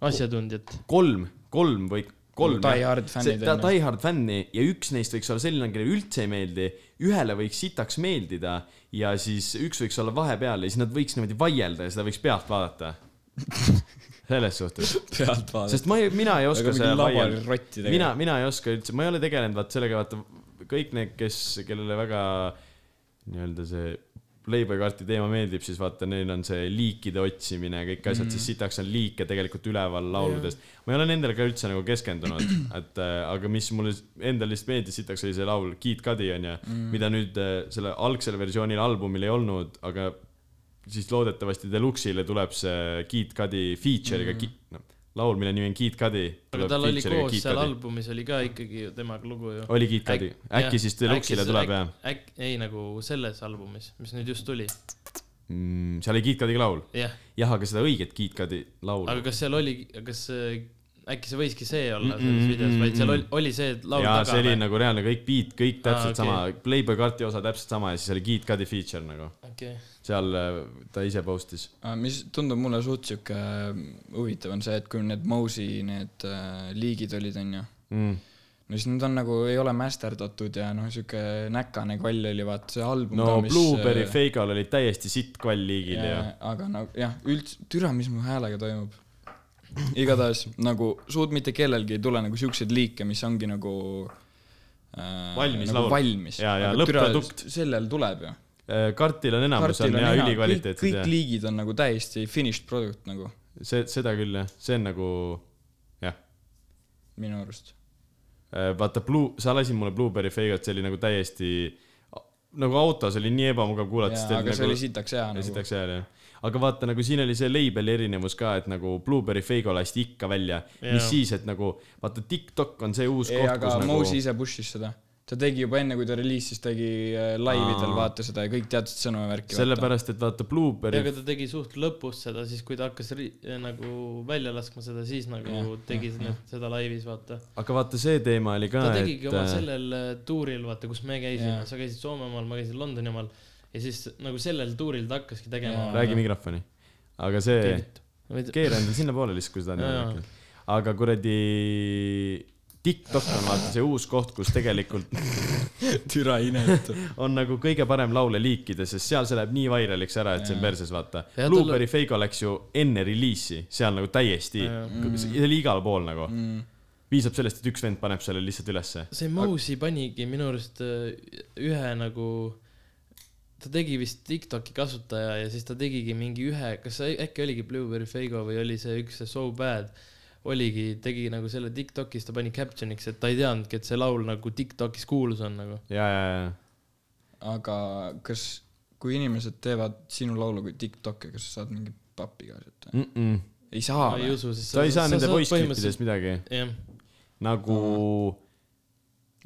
S2: asjatundjat .
S3: kolm , kolm või kolm
S1: Die Hard
S3: on
S1: fännid,
S3: ju .
S1: on ju.
S3: Die Hard fänni ja üks neist võiks olla selline , kellele üldse ei meeldi , ühele võiks sitaks meeldida ja siis üks võiks olla vahepeal ja siis nad võiks niimoodi vaielda ja seda võiks pealt vaadata . selles suhtes ,
S1: pealt vaadata .
S3: sest ma ei , mina ei oska
S1: aga mingi
S3: seda
S1: labori
S3: vaielda .
S1: rotti
S3: mina
S1: tegema .,
S3: mina ei oska üldse , ma ei ole tegelenud vaata sellega , vaata kõik need , kes , kellele väga nii-öelda see leibakarti teema meeldib , siis vaata , neil on see liikide otsimine ja kõik asjad mm , -hmm. siis sitaks on liike tegelikult üleval lauludest . ma ei ole nendele ka üldse nagu keskendunud , et äh, aga mis mulle s- endale lihtsalt meeldis , sitaks oli see laul Kid Cudi onju mm , -hmm. mida nüüd äh, selle algsel versioonil albumil ei olnud , aga siis loodetavasti Deluxe'ile tuleb see Kid Cudi feature'iga mm -hmm. , noh , laul , mille nimi on Kid Cudi .
S2: aga tal oli koos seal . albumis oli ka ikkagi ju temaga lugu ju .
S3: oli Kid Cudi , äkki siis Deluxe'ile tuleb jah ?
S2: äkki , ei nagu selles albumis , mis nüüd just tuli ,
S3: mm, . seal oli Kid Cudi laul ,
S2: jah ,
S3: jah , aga seda õiget Kid Cudi laulu
S2: aga . kas seal oli , kas äh, äkki see võiski see olla selles videos , vaid seal oli , oli see laul
S3: ja
S2: taga
S3: see oli
S2: või ?
S3: nagu reaalne , kõik beat , kõik täpselt
S2: okei.
S3: sama , Playboy karti osa täpselt sama ja siis oli Kid Cudi feature nagu ,
S2: okei ,
S3: seal äh, ta ise postis .
S1: mis tundub mulle suht sihuke äh, huvitav on see , et kui need Mosi need äh, liigid olid , onju
S3: Mm.
S1: no siis nad on nagu , ei ole mästerdatud ja noh , sihuke näkane kvall oli vaata see album
S3: no
S1: äh,
S3: Blueberry . Feigal oli täiesti sitt kvall liigil ja, ja. .
S1: aga no jah , üldse , türa , mis mu häälega toimub . igatahes nagu suurt mitte kellelgi ei tule nagu siukseid liike , mis ongi nagu äh,
S3: Valmis
S1: nagu
S3: laul.
S1: valmis .
S3: Jaa, jaa, lõpp-produkt. .
S1: sellel tuleb ju .
S3: Äh, kartil on enamus , on ja
S1: kõik,
S3: ülikvaliteetsed
S1: kõik
S3: ja
S1: liigid on nagu täiesti finished product nagu
S3: see , seda küll jah , see on nagu jah ,
S1: minu arust .
S3: vaata Blue , sa lasid mulle Blueberry Feigalt , see oli nagu täiesti nagu autos oli nii ebamugav kuulata , sest
S1: aga
S3: et
S1: nagu... see
S3: nagu
S1: oli sitaks hea nagu .
S3: esiteks hääl jah . aga vaata nagu siin oli see label'i erinevus ka , et nagu Blueberry Feigo lasti ikka välja , mis
S2: Jaa.
S3: siis , et nagu vaata TikTok on see uus
S1: ei ,
S3: koht ,
S1: aga
S3: kus nagu
S1: Mosi ise push'is seda . ta tegi juba enne , kui ta reliisis , tegi äh, laividel
S3: Aa.
S1: vaata seda ja kõik teadsid sõnumi värki .
S3: sellepärast , et vaata Blueberry
S2: aga ta tegi suht lõpus seda , siis kui ta hakkas ri- nagu välja laskma seda , siis nagu tegi need- seda laivis , vaata .
S3: aga vaata see teema oli ka
S2: ta , tegigi oma
S3: et
S2: sellel äh, tuuril , vaata , kus me käisime
S1: Jaa. ,
S2: sa käisid Soomemaal , ma käisin Londoni omal ja siis nagu sellel tuuril ta hakkaski tegema
S1: Jaa. .
S3: räägi mikrofoni . aga see , keera endale sinnapoole lihtsalt , kui sa tahad
S2: Jaa, jaa.
S3: rääkida . aga kuradi TikTok on vaata see uus koht , kus tegelikult
S1: türa inetu .
S3: on nagu kõige parem laule liikida , sest seal see läheb nii vairaliks ära , et see on
S1: Jaa.
S3: perses , vaata .
S2: Ja tal-
S3: Blueberry Feigo läks ju enne reliisi , seal nagu täiesti ,
S2: Jaa. Mm.
S3: see oli igal pool nagu . piisab sellest , et üks vend paneb selle lihtsalt ülesse .
S2: see Mousi panigi minu arust äh, ühe nagu , ta tegi vist Tiktoki kasutaja ja siis ta tegigi mingi ühe , kas see äkki oligi Blueberry Feigo või oli see üks see So Bad , oligi , tegi nagu selle Tiktokis , ta pani caption'iks , et ta ei teadnudki , et see laul nagu Tiktokis kuulus on nagu .
S3: ja , ja , ja ,
S1: aga kas , kui inimesed teevad sinu laulu kui Tiktoki , kas sa saad mingi pappi ka sealt või ?
S3: ja .
S1: ei saa
S2: ma ei
S1: või ?
S2: usu , sest
S3: sa ei saa nende poissklippidest midagi
S2: jah ,
S3: nagu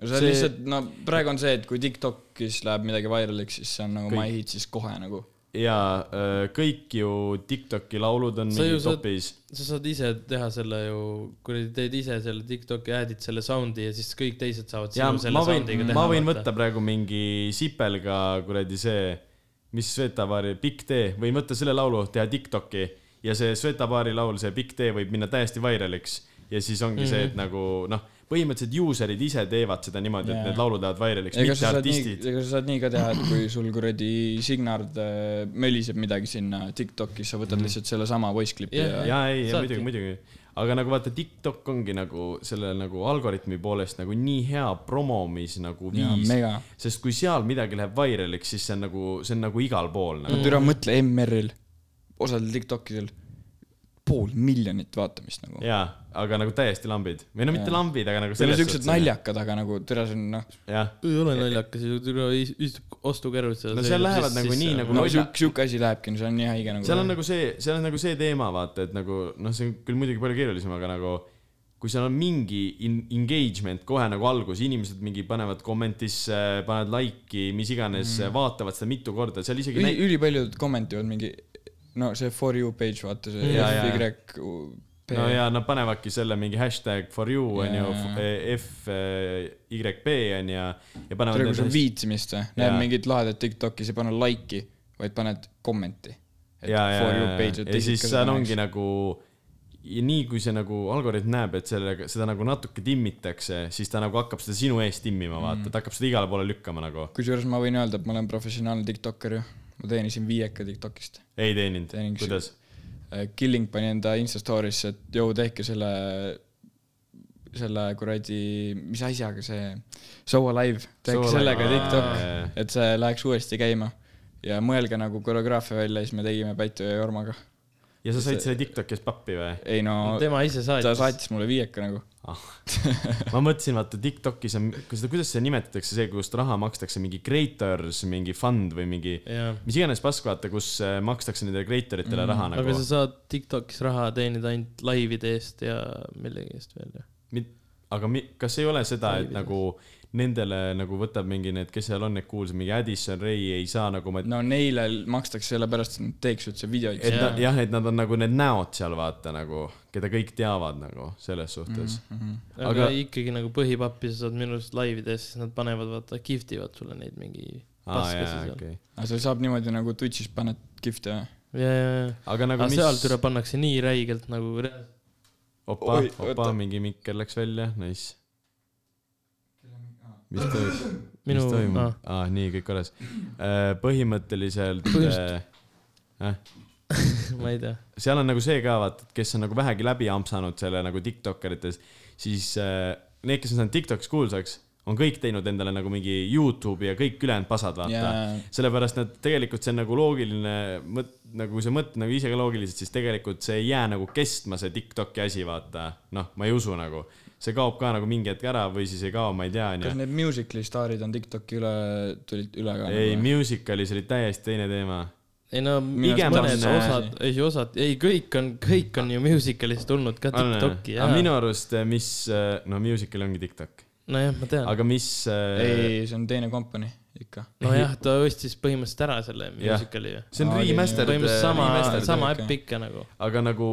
S1: see on
S3: see-
S1: lihtsalt , no praegu on see , et kui Tiktokis läheb midagi vairaliks , siis see on nagu
S3: Kõik-
S1: my hit siis kohe nagu .
S3: ja öö, äh, kõik ju Tiktoki laulud on
S2: Sa ju
S3: mingi
S2: saad-
S3: topis .
S2: sa saad ise teha selle ju , kuradi , teed ise selle Tiktoki , add'id selle sound'i ja siis kõik teised saavad
S3: ja
S2: sinu selle
S3: ma võin
S2: sound'iga , teha .
S3: ma võin võtta praegu mingi sipelga kuradi see , mis Svetabaari Big D , võin võtta selle laulu , teha Tiktoki ja see Svetabaari laul , see Big D võib minna täiesti vairaliks ja siis ongi mm -hmm. see ,
S2: Mhm.
S3: et nagu noh , põhimõtteliselt user'id ise teevad seda niimoodi yeah. ,
S1: Jaa.
S3: et need laulud lähevad vairaliks ,
S1: ega
S3: mitte
S1: sa saad nii ,
S3: artistid .
S1: ega sa saad nii ka teha , et kui sul kuradi Signard äh, möliseb midagi sinna Tiktokis , sa võtad lihtsalt sellesama voice clip'i ja
S2: Jah,
S3: ja ei ,
S2: Saadki.
S3: muidugi , muidugi , aga nagu vaata , Tiktok ongi nagu selle nagu algoritmi poolest nagu nii hea promomis nagu
S1: ja
S3: viis ,
S1: mega .
S3: sest kui seal midagi läheb vairaliks , siis see on nagu , see on nagu igal pool nagu
S1: no türa mõtle MR-il , osadel Tiktokidel pool miljonit vaatamist nagu .
S3: jaa , aga nagu täiesti lambid või no mitte
S1: Jaa.
S3: lambid , aga nagu
S1: Need on siuksed . naljakad , aga nagu türa see on noh ,
S3: jah ,
S2: ei ole naljakas , tüdru istub ostukerus ja
S3: No seal lähevad nagu nii nagu-
S1: no
S3: nalja-
S1: siuk- , siuke asi lähebki , no see on nii haige nagu .
S3: seal on nagu see , seal on nagu see teema , vaata , et nagu noh , see on küll muidugi palju keerulisem , aga nagu kui seal on mingi in- engagement kohe nagu algus , inimesed mingi panevad kommentisse , panevad like'i , mis iganes mm. , vaatavad seda mitu korda , seal isegi
S1: üli , ülipaljud kommentivad mingi , no see for you page , vaata see
S3: Jaa, jaa, jaa.
S1: FYP .
S3: no ja nad panevadki selle mingi hashtag for you onju
S1: Jaa. ,
S3: F , eh, YP on ja , ja panevad .
S1: tere , kui sul on viitsimist või ,
S3: Jaa.
S1: näed mingit lahedat Tiktokis , ei pane like'i , vaid paned kommenti .
S3: ja , ja , ja , ja siis seal ongi . nagu , nii kui see nagu algoritm näeb , et sellega , seda nagu natuke timmitakse , siis ta nagu hakkab seda sinu eest timmima ,
S1: Mhm.
S3: vaata , ta hakkab seda igale poole lükkama nagu .
S1: kusjuures ma võin öelda , et ma olen professionaalne Tiktoker ju , ma teenisin viieka Tiktokist .
S3: ei teeninud
S1: Teening- ,
S3: kuidas ?
S1: Killing pani enda Insta story'sse , et jõu , tehke selle , selle kuradi , mis asjaga see , So Alive , tehke sellega Tiktok . et see läheks uuesti käima ja mõelge nagu koreograafia välja , siis me tegime Pätu ja Jormaga .
S3: ja sa said
S1: see-
S3: selle Tiktokis pappi või ?
S1: ei no ,
S2: tema ise
S1: ta
S2: saatis .
S1: saatis mulle viieka nagu .
S3: ma mõtlesin , vaata Tiktokis on , kas seda , kuidas seda nimetatakse , see , kust raha makstakse , mingi creators , mingi fund või mingi ,
S2: jah ,
S3: mis iganes pask , vaata , kus äh, makstakse nendele creator itele
S1: Mhm.
S3: mm, raha
S2: aga
S3: nagu
S2: sa . saad Tiktokis raha teenida ainult laivide eest ja millegi eest veel ju .
S3: aga mi, kas ei ole seda , et
S2: Ei,
S3: nagu nendele nagu võtab mingi need , kes seal on need kuulsad , mingi Addison Ray ei saa nagu , et
S1: no neile makstakse sellepärast , et nad teeks üldse videoid .
S3: et
S2: jaa.
S3: nad- jah , et nad on nagu need näod seal vaata nagu , keda kõik teavad nagu selles
S2: Mhm.
S3: suhtes mm .
S1: Mhm.
S2: aga, aga
S3: Aga-
S2: ikkagi nagu põhipappi sa saad minu arust laivide eest , siis nad panevad , vaska gift ivad sulle neid mingi
S3: aa
S2: paskasid
S3: jaa ,
S2: seal.
S3: okei .
S1: aga seal saab niimoodi nagu Twitch'is paned gift'e või ?
S2: ja , ja , ja .
S3: aga
S2: aga
S3: nagu
S2: mis... seal
S3: mis ,
S2: türa pannakse nii räigelt nagu re... .
S3: opa
S1: Oi, ,
S3: opa
S1: oota. ,
S3: mingi mikker läks välja , nice . mis toimub ,
S2: minu noh.
S3: mis , toimub
S2: aa ,
S3: aa ah, , nii , kõik korras . põhimõtteliselt
S2: Põhjust-
S3: äh,
S2: ma ei tea .
S3: seal on nagu see ka vaata , et kes on nagu vähegi läbi ampsanud selle nagu Tiktokerites , siis äh, need , kes on saanud Tiktoks kuulsaks , on kõik teinud endale nagu mingi Youtube'i ja kõik ülejäänud pasad , vaata yeah. . sellepärast nad tegelikult see on nagu loogiline mõt- , nagu kui sa mõtled nagu ise ka loogiliselt , siis tegelikult see ei jää nagu kestma , see Tiktoki asi , vaata . noh , ma ei usu nagu , see kaob ka nagu mingi hetk ära või siis ei kao , ma ei tea ,
S1: kas
S3: onju .
S1: need Musical.ly staarid on Tiktoki üle , tulid üle ka ? nagu
S3: ei ,. Musicalis oli täiesti teine teema .
S2: ei no
S1: Minu
S2: pigem
S1: arust
S2: mõned
S3: on, äh,
S2: osad , ei osad , ei kõik on , kõik on ju musical'ist tulnud ka Tiktoki
S3: aga
S2: ja .
S3: minu arust , mis , no Musical ongi Tiktok ,
S2: nojah , ma tean .
S3: aga mis . äh,
S1: ei , see on teine kompanii ikka .
S2: nojah , ta ostis põhimõtteliselt ära selle
S3: Jah. äh,
S2: musical'i ju .
S3: see on
S1: Aa,
S3: remastered .
S2: põhimõtteliselt sama , sama
S1: okei.
S2: äpp ikka nagu .
S3: aga nagu ,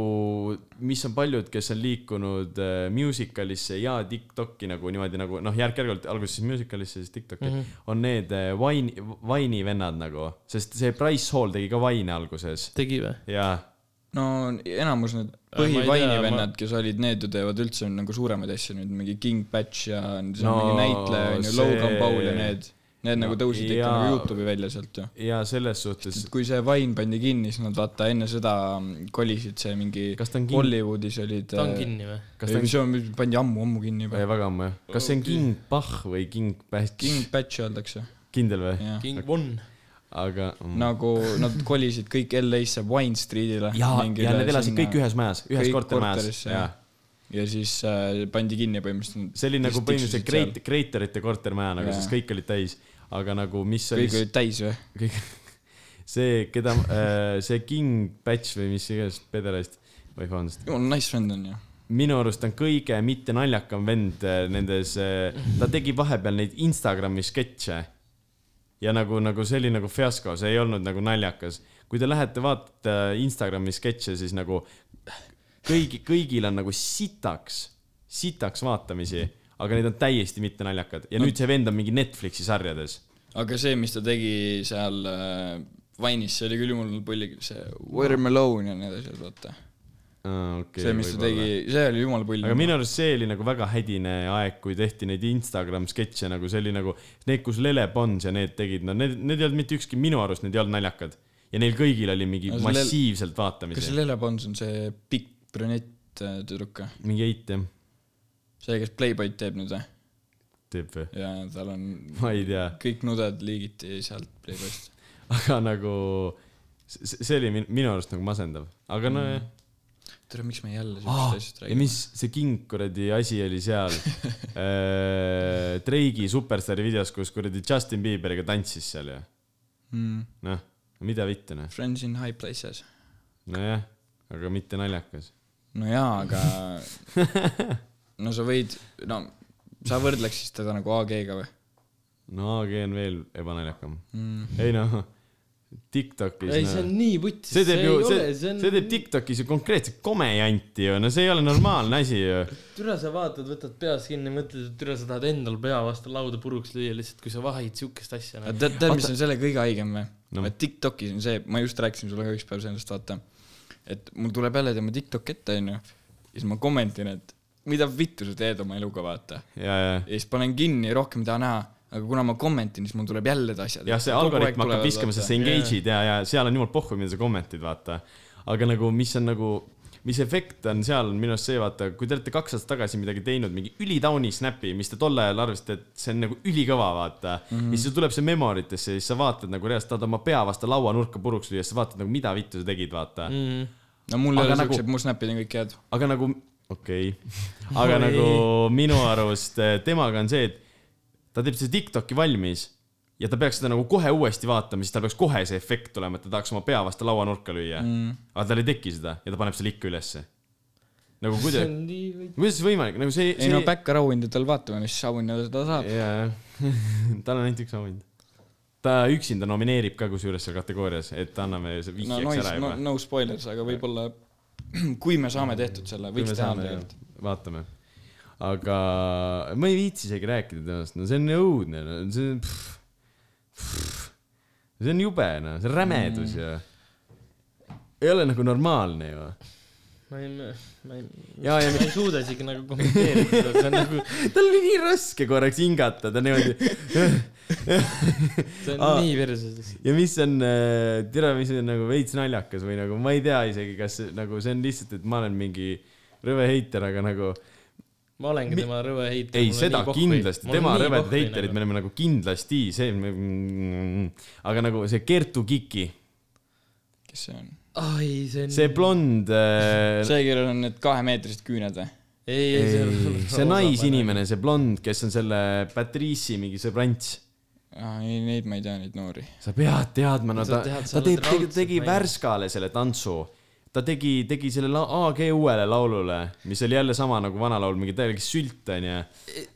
S3: mis on paljud , kes on liikunud äh, musicalisse ja Tiktoki nagu niimoodi nagu noh , järk-järgult alguses siis musicalisse , siis Tiktoki
S2: Mhm.
S3: mm , -hmm. on need äh, Vaini , Vaini vennad nagu , sest see Price Hall tegi ka Vaine alguses
S2: tegi või ?
S3: ja
S1: no enamus need
S3: Äh,
S1: põhivaini vennad , kes olid , need ju teevad üldse nagu suuremaid asju nüüd , mingi King Batch ja siis on
S3: No
S1: mingi näitleja on ju ,
S3: see-
S1: Logan Paul ja need , need
S3: No
S1: nagu tõusid ikka
S3: jaa.
S1: nagu Youtube'i välja sealt ju .
S3: ja selles suhtes ,
S1: kui see vain pandi kinni , siis nad vaata enne seda mm, kolisid see mingi
S3: kas ta on king ,
S1: Hollywoodis olid .
S2: ta on . kinni või ?
S3: kas
S1: ei
S3: ta , on
S1: see on , pandi ammu-ammu kinni juba .
S3: väga ammu jah , kas see on
S2: Okei.
S3: king pah või king
S1: King
S3: batch ,
S1: Batch öeldakse ,
S3: kindel või ?
S1: jah .
S2: King One .
S3: aga
S1: nagu nad kolisid kõik LA-sse Wine Street'ile .
S3: ja , ja need elasid kõik . ühes majas , ühes
S1: Kõik
S3: kortermajas
S1: korterisse,
S3: ja
S1: jah. ja siis äh, pandi kinni põhimõtteliselt .
S3: see oli nagu põhimõtteliselt kreit- ,. kreiterite kortermaja nagu ,
S1: Jaa.
S3: sest kõik olid täis , aga nagu mis oli
S1: kõik olid täis või ?
S3: kõik see , keda äh, see King Batch või mis iganes pederast või vabandust ,
S1: jumal , nice vend on ju .
S3: minu arust on kõige mitte naljakam vend äh, nendes , ta tegi vahepeal neid Instagrami sketše . ja nagu , nagu see oli nagu fiasko , see ei olnud nagu naljakas . kui te lähete vaatate äh, Instagrami sketše , siis nagu kõigi , kõigil on nagu sitaks , sitaks vaatamisi , aga need on täiesti mitte naljakad ja nüüd see vend on mingi Netflixi sarjades .
S1: aga see , mis ta tegi seal äh, Wine'is , see oli küll jumal pulli , see Watermelon ja need asjad , vaata .
S3: Okay,
S1: see , mis ta tegi , see oli jumal pull .
S3: aga minu arust see oli nagu väga hädine aeg , kui tehti neid Instagram sketše nagu see oli nagu need , kus Lele Pons ja need tegid , no need , need ei olnud mitte ükski , minu arust need ei olnud naljakad . ja neil kõigil oli mingi
S1: No
S3: no,
S1: see Lel-
S3: massiivselt
S1: kas
S3: vaatamisi .
S1: Lele Pons on see pikk brünett äh, tüdruk või ?
S3: mingi eit jah ,
S1: see , kes Playboy'd teeb nüüd või ?
S3: teeb või ?
S1: ja tal on
S3: ma ei tea ,
S1: kõik nuded liigiti sealt Playboy'st .
S3: aga nagu see, see oli min- minu arust nagu masendav , aga nojah mm. .
S1: tere , miks me
S3: Aa,
S1: jälle siukest asjast
S3: ja
S1: räägime ?
S3: mis see king kuradi asi oli seal Drake'i superstaari videos , kus kuradi Justin Bieberiga tantsis seal ju ,
S1: mm. ?
S3: noh , mida vittu noh ,
S1: Friends in high places .
S3: nojah , aga mitte naljakas .
S1: no jaa , aga no sa võid , no sa võrdleks siis teda nagu AG-ga või
S3: no AG on veel ebanaljakam .
S1: mm. ?
S3: ei noh , Tiktokis .
S2: ei , see on nii vutis .
S3: see teeb ju ,
S2: ei
S3: see
S2: ole, , see, on...
S3: see teeb Tiktokis ju konkreetselt komejanti ju , no see ei ole normaalne asi ju .
S2: türa sa vaatad , võtad peas kinni , mõtled , et türa sa tahad endal pea vastu lauda puruks lüüa lihtsalt , kui sa vahid siukest asja
S1: aga
S2: nagu .
S1: tead , tead , mis on selle kõige haigem või
S3: No.
S1: no. ? et Tiktokis on see , ma just rääkisin sulle ka ükspäev sellest , vaata , et mul tuleb jälle tema Tiktok ette , onju , siis ma kommentin , et mida vittu sa teed oma eluga , vaata .
S3: ja , ja ,
S1: ja siis panen kinni , rohkem ei taha näha , aga kuna ma kommentin , siis mul tuleb jälle need asjad .
S3: jah , see algoritm hakkab viskama , sest sa engage'id ja , ja seal on jumal pohhu , mida sa kommentid , vaata . aga nagu , mis on nagu , mis efekt on seal minu arust see , vaata , kui te olete kaks aastat tagasi midagi teinud , mingi ülitauni snappi , mis te tol ajal arvasite , et see on nagu ülikõva , vaata mm . -hmm. ja siis sul tuleb see memoritesse ja siis sa vaatad nagu reaalselt , tahad oma pea vastu lauanurka puruks lüüa , siis sa vaatad nagu , mida vittu sa tegid , vaata mm .
S2: Mm.
S1: no mul ei
S3: Aga
S1: ole
S3: nagu-
S1: siukseid , mu snap'id on kõik head .
S3: aga nagu , okei okay. , aga nagu minu arust eh, temaga on see , et ta teeb selle Tiktoki valmis ja ta peaks seda nagu kohe uuesti vaatama , siis tal peaks kohe see efekt tulema , et ta tahaks oma pea vastu lauanurka lüüa mm. . aga tal ei teki seda ja ta paneb selle ikka ülesse . nagu
S2: see
S3: kuidas ,
S2: on nii vutis .
S3: kuidas see võimalik , nagu see ,
S1: ei
S3: see
S1: no back around'i tal vaatame , mis auhinna ta saab .
S3: jaa , tal on ainult üks auhind . ta üksinda nomineerib ka kusjuures seal kategoorias , et anname see
S1: no
S3: vihjeks
S1: nois,
S3: ära
S1: no,
S3: juba .
S1: no spoilers , aga võib-olla kui me saame tehtud selle ,
S3: Kui
S1: võiks
S3: me
S1: teha
S3: saame,
S1: tegelikult .
S3: jah. vaatame , aga ma ei viitsi isegi rääkida temast , no see on õudne , no see on . see on jube , noh , see on
S1: Mm.
S3: rämedus ja . ei ole nagu normaalne ju .
S2: ma ei , ma ei ,
S3: Jaa,
S2: ma
S3: ja-
S2: ei suuda isegi nagu kommenteerida seda , see on nagu ,
S3: tal oli nii raske korraks hingata , ta niimoodi
S2: see on
S3: Aa.
S2: nii versus lihtsalt .
S3: ja mis on , tere , mis on nagu veits naljakas või nagu ma ei tea isegi , kas see- nagu see on lihtsalt , et ma olen mingi rõve heiter , aga nagu
S2: ma olengi
S3: Mi-
S2: tema rõve heiter .
S3: ei , seda kindlasti , tema rõvedad heiterid , me oleme nagu kindlasti see , mm, aga nagu see Kertu Kiki ,
S1: kes see on ?
S2: ai , see on .
S3: see . blond , see,
S1: see , kellel on need kahemeetrised küüned või ?
S2: ei , ei , see on
S3: ei, . see naisinimene , see blond , kes on selle Patrice'i mingi sõbrants ,
S1: Ah, ei , neid ma ei tea , neid noori .
S3: sa pead teadma , no ta ,
S2: Sa tead,
S3: ta
S2: sa oled
S3: teeb , tegi,
S2: raudselt
S3: tegi
S2: naine.
S3: Värskale selle tantsu , ta tegi , tegi selle la- AG uuele laulule , mis oli jälle sama nagu vana laul , mingi täielik sült onju .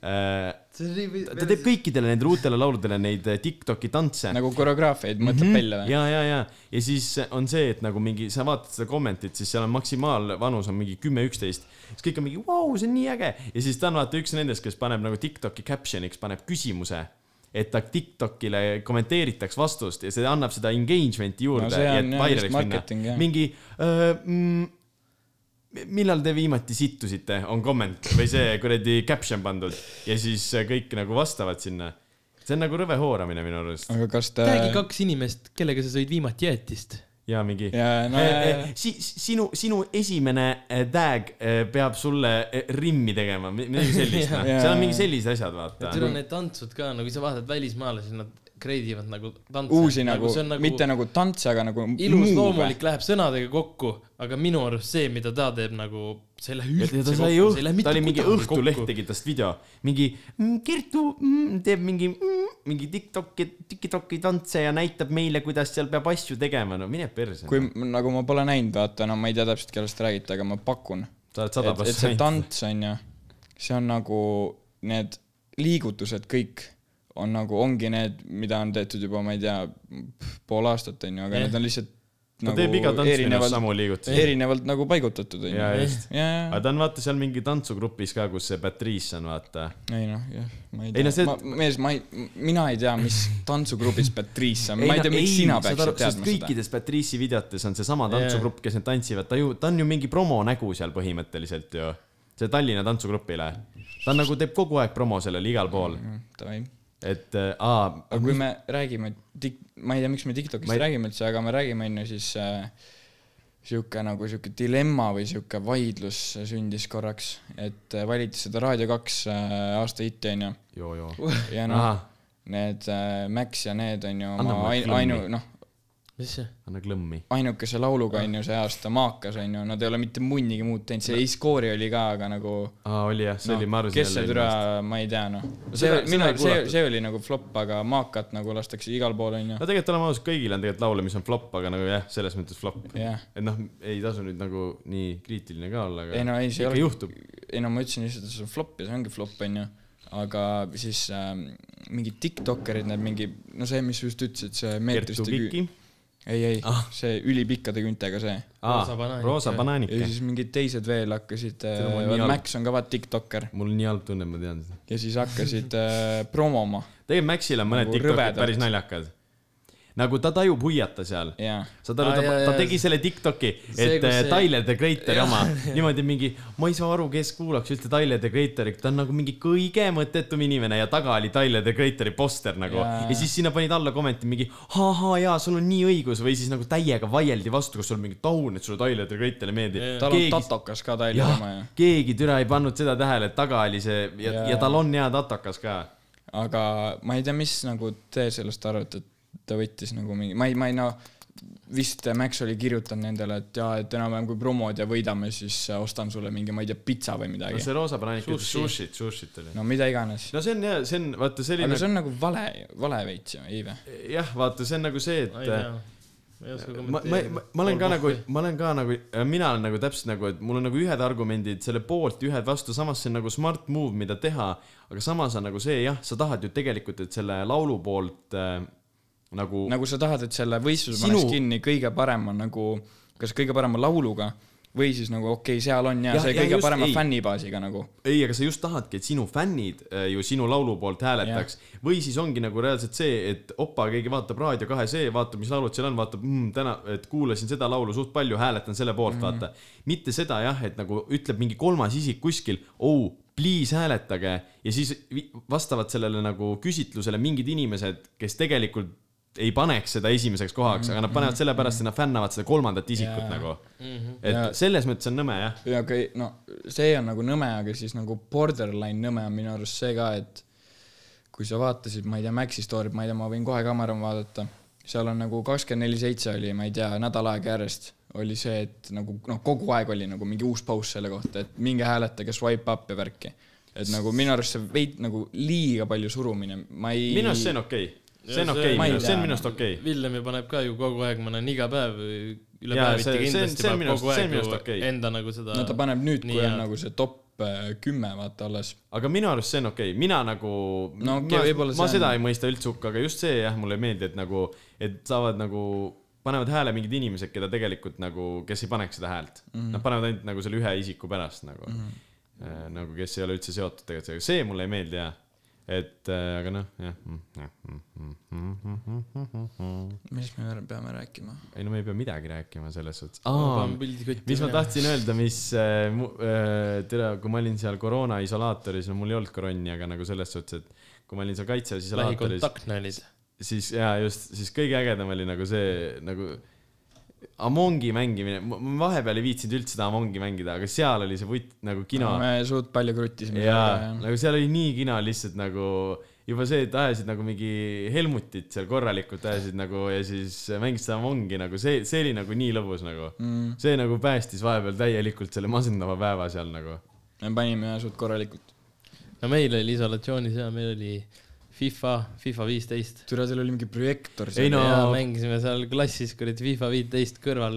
S3: ta
S2: see on nii .
S3: ta teeb . kõikidele nendele uutele lauludele neid eh, Tiktoki tantse .
S1: nagu koreograafiaid mõtleb välja või ?
S3: ja , ja , ja , ja siis on see , et nagu mingi , sa vaatad seda kommentit , siis seal on maksimaalvanus on mingi kümme , üksteist , siis kõik on mingi , vau , see on nii äge ja siis ta on vaata üks nendest , kes paneb nagu Tiktoki caption'iks paneb küsimuse et ta Tiktokile kommenteeritaks vastust ja see annab seda engagement'i juurde
S1: No see
S3: ja
S1: on
S3: et
S1: jah,
S3: vairaliks
S1: vist
S3: minna
S1: marketing, jah. .
S3: mingi öö, mm, millal te viimati sittusite , on komment või see kuradi caption pandud ja siis kõik nagu vastavad sinna . see on nagu rõve hooramine minu arust
S1: aga kas ta
S2: räägi kaks inimest , kellega sa sõid viimati jäätist .
S3: ja mingi .
S1: jaa , no
S3: Eh, eh, si- , sinu , sinu esimene eh, tag eh, peab sulle eh, rimmi tegema , midagi sellist , noh .
S1: Jaa.
S3: seal on mingi sellised asjad , vaata .
S2: seal on need tantsud ka nagu sa vaatad välismaalasi , nad grade ivad nagu tantse .
S1: uusi nagu, nagu , mitte nagu tantse , aga nagu
S2: ilus ,
S1: muu-
S2: loomulik , läheb sõnadega kokku , aga minu arust see , mida ta teeb nagu , see ei lähe
S3: ja
S2: üldse
S3: ta
S2: kokku
S3: sai , õht-
S2: see ei , lähe
S3: ta
S2: mitte
S3: oli mingi
S2: kuidagi
S3: Õhtuleht
S2: kokku .
S3: tegi tast video , mingi mm, Kertu mm, teeb mingi mm, , mingi Tiktoki , Tiktoki tantse ja näitab meile , kuidas seal peab asju tegema , no mine perse . noh.
S1: kui m- nagu ma pole näinud , vaata , no ma ei tea täpselt , kellest te räägite , aga ma pakun ,
S3: sa oled sada
S1: et , et see
S3: protsenti .
S1: tants on ju , see on nagu need liigutused kõik on nagu , ongi need , mida on tehtud juba , ma ei tea , pool aastat on ju , aga
S2: Jah.
S1: need on lihtsalt
S3: ta
S1: nagu
S3: teeb iga tants minu arust
S1: erinevalt ,
S3: samu liigutusi .
S1: erinevalt nagu paigutatud on ju .
S3: jaa ,
S1: jaa ,
S3: just . aga
S1: jaa ,
S3: ta on vaata seal mingi tantsugrupis ka , kus see Patrice on , vaata
S1: ei noh , jah , ma ei
S3: Ei
S1: tea
S3: no , see-
S1: ma , mees , ma ei , mina ei tea , mis tantsugrupis Patrice on , ma ei tea , miks sina peaksid teadma seda .
S3: kõikides Patrice'i videotes on seesama tantsugrupp , kes need tantsivad , ta ju , ta on ju mingi promonägu seal põhimõtteliselt ju . see Tallinna tantsugrupile . ta on nagu teeb kogu aeg promo sellele igal pool ,
S1: Mm, Davai
S3: et äh, aa ,
S1: aga kui me räägime tik- , ma ei tea , miks me Tiktokist
S3: Ma ei-
S1: ei... räägime üldse , aga me räägime , on ju , siis äh, sihuke nagu sihuke dilemma või sihuke vaidlus sündis korraks , et äh, valiti seda Raadio kaks äh, aasta hitti , on ju ,
S3: joo , joo .
S1: ja noh ,
S3: ahah ,
S1: need äh, Max ja need on ju
S3: Anna
S1: oma
S3: mulle
S1: ain- ,
S3: klõmmi.
S1: ainu- , noh ,
S2: mis see ?
S3: anna klõmmi .
S1: ainukese lauluga on ju see aasta maakas , on ju , nad ei ole mitte munnigi muud teinud , see Iskori oli ka , aga nagu
S3: aa , oli jah , see
S1: noh,
S3: oli , ma arvasin
S1: kes see türa , ma ei tea , noh . see
S3: seda- ,
S1: minu
S3: seda ei ,
S1: see ,
S3: kuulatud.
S1: see oli nagu flop , aga maakat nagu lastakse igal pool , on ju
S3: no , tegelikult oleme ausad , kõigil on tegelikult laule , mis on flop , aga nagu jah , selles mõttes flop .
S1: jah
S3: et noh , ei tasu nüüd nagu nii kriitiline ka olla ,
S1: ei
S3: aga
S1: no ei , see ei
S3: ikka
S1: ole ,
S3: juhtub .
S1: ei no ma ütlesin lihtsalt , et see on flop ja see ongi flop , onju . aga siis äh, mingid tiktokkerid , need mingi , no see , mis sa just ütlesid , see
S3: Kertu
S1: meetriste küü- ,
S3: Kiki ,
S1: ei , ei ah. , see ülipikkade küntega see .
S2: Roosa
S3: aa ,
S2: banaanik,
S3: Roosa
S2: jah.
S1: ja
S3: banaanike .
S1: siis mingid teised veel hakkasid äh,
S3: Seda ma ei , tea.
S1: Max on ka vaata tiktokker ,
S3: mul on nii halb tunne , et ma tean seda .
S1: ja siis hakkasid äh, promoma
S3: tegelikult Maxil on mõned
S1: Nagu
S3: Tiktokid
S1: rõvedalt.
S3: päris naljakad . nagu ta tajub huiata seal .
S1: ja
S3: saad aru ,
S2: Aa,
S3: ta
S2: jaa, ,
S3: ta
S2: jaa.
S3: tegi selle Tiktoki ,
S2: See,
S3: et
S2: kus
S3: see...
S2: see-
S3: Tyler the Creator oma , niimoodi mingi , ma ei saa aru , kes kuulaks üldse Tyler the Creatorit , ta on nagu mingi kõige mõttetum inimene ja taga oli Tyler the Creatori poster nagu ja,
S1: Jaa, jaa.
S3: ja siis sinna panid alla kommenti mingi ahhaa jaa , sul on nii õigus või siis nagu täiega vaieldi vastu , kas sul on mingi taun , et sulle Tyler the Creator ei meeldi .
S1: tal on tatokas ka Tyler
S3: jah
S1: oma ju ,,
S3: keegi türa ei pannud seda tähele , et taga oli see ja, ja.
S1: Jaa.
S3: ja tal on hea tatakas ka
S1: aga ma ei tea , mis nagu te sellest arvate , et ta võttis nagu mingi , ma ei , ma ei no , vist Max oli kirjutanud nendele , et jaa , et enam-vähem kui promod ja võidame , siis ostan sulle mingi , ma ei tea , pitsa või
S3: no
S1: midagi .
S3: see roosa banaanik ütles
S2: Sushi.
S3: sushit , sushit oli .
S1: no mida iganes .
S3: no see on jah , see on , vaata
S1: aga
S3: selline
S1: see , on nagu vale , vale veits ju , ei vä ?
S3: jah , vaata , see on nagu see ,
S2: ma ei tea
S3: et .
S2: ma ei oska
S3: ma , ma , ma , ma olen ka nagu , ma olen ka nagu , mina olen nagu täpselt nagu , et mul on nagu ühed argumendid selle poolt , ühed vastu , samas see on nagu smart move , mida teha , aga samas on nagu see jah , sa tahad ju tegelikult , et selle laulu poolt äh, nagu, nagu... ,
S1: nagu sa tahad , et selle võistluse Sinu...
S3: Sinu-
S1: paneks kinni kõige parema nagu , kas kõige parema lauluga või siis nagu okei okay, , seal on ja,
S3: Jah,
S1: ja see
S3: jah,
S1: kõige
S3: just,
S1: just, parema
S3: ei.
S1: fännibaasiga nagu .
S3: ei , aga sa just tahadki , et sinu fännid äh, ju sinu laulu poolt hääletaks või siis ongi nagu reaalselt see , et opa , keegi vaatab Raadio kahe see , vaatab , mis laulud seal on , vaatab mm, täna , et kuulasin seda laulu suht palju , hääletan selle poolt mm , -hmm. vaata . mitte seda jah , et nagu ütleb mingi kolmas isik kuskil , oh , please hääletage ja siis vi- vastavad sellele nagu küsitlusele mingid inimesed , kes tegelikult ei paneks seda esimeseks kohaks , aga nad panevad sellepärast , et nad fännavad seda kolmandat isikut
S1: Jaa.
S3: nagu .
S1: Jaa.
S3: et selles mõttes on nõme jah .
S1: ja okei , no see on nagu nõme , aga siis nagu borderline nõme on minu arust see ka , et kui sa vaatasid , ma ei tea , Maxi story'd , ma ei tea , ma võin kohe kaamera vaadata , seal on nagu kakskümmend neli seitse oli , ma ei tea , nädal aega järjest oli see , et nagu noh , kogu aeg oli nagu mingi uus paus selle kohta , et minge hääletage swipe up ja värki . et nagu minu arust see veid nagu liiga palju surumine , ma ei .
S3: minu arust see on okei okay. . see on
S2: Ja see-
S3: okei
S1: ma ei
S3: okay, , see on
S1: tea.
S3: minu arust okei okay. .
S2: Villemi paneb ka ju kogu aeg , ma näen iga päev , üle
S3: Jaa, see-
S2: päeviti
S3: see on-
S2: kindlasti
S3: see on
S2: paneb
S3: minu
S2: kogu
S3: arust- see on
S2: aeg
S3: minu
S2: ju
S3: arust okei.
S2: enda nagu seda .
S1: no ta paneb nüüd , kui
S2: Nii,
S1: on
S2: jah.
S1: nagu see top äh, kümme , vaata alles .
S3: aga minu arust see on okei okay. , mina nagu
S1: No okei,
S3: ma,
S1: võib-olla
S3: ma
S1: see
S3: seda
S1: on-
S3: ei mõista üldse hukka , aga just see jah , mulle ei meeldi , et nagu , et saavad nagu , panevad hääle mingid inimesed , keda tegelikult nagu , kes ei paneks seda häält mm .
S1: Mhm.
S3: -hmm. Nad panevad ainult nagu Äh, selle ühe isiku pärast nagu mm , -hmm. nagu kes ei ole üldse seotud tegelikult sellega , see mulle ei meeldi jah . et äh, aga noh , jah mm, jah, mm, mm, mm, mm, mm, mm, mm.
S1: mis me veel peame rääkima ?
S3: ei no me ei pea midagi rääkima selles suhtes .
S2: panen pildi kotti .
S3: mis ma tahtsin öelda , mis äh, mu- äh, tere , kui ma olin seal koroona isolaatoris , no mul ei olnud koronni , aga nagu selles suhtes , et kui ma olin seal kaitseväes isolaatoris ,
S2: lähikontaktne olid .
S3: siis jaa , just , siis kõige ägedam oli nagu see nagu Amongi mängimine , ma ma vahepeal ei viitsinud üldse seda Amongi mängida , aga seal oli see vutt nagu kino .
S1: me suht palju kruttisime .
S3: jaa , nagu seal oli nii kina lihtsalt nagu juba see , et ajasid nagu mingi Helmutit seal korralikult ajasid nagu ja siis mängisid seda Amongi nagu see , see oli nagu nii lõbus nagu mm. . see nagu päästis vahepeal täielikult selle masendava päeva seal nagu .
S1: me panime ühe suht korralikult .
S2: no meil oli isolatsioonis ja meil oli FIFA , FIFA viisteist .
S1: türa , seal oli mingi projektor
S3: Ei
S1: seal .
S3: no-
S2: ja mängisime seal klassis kuradi FIFA viiteist kõrval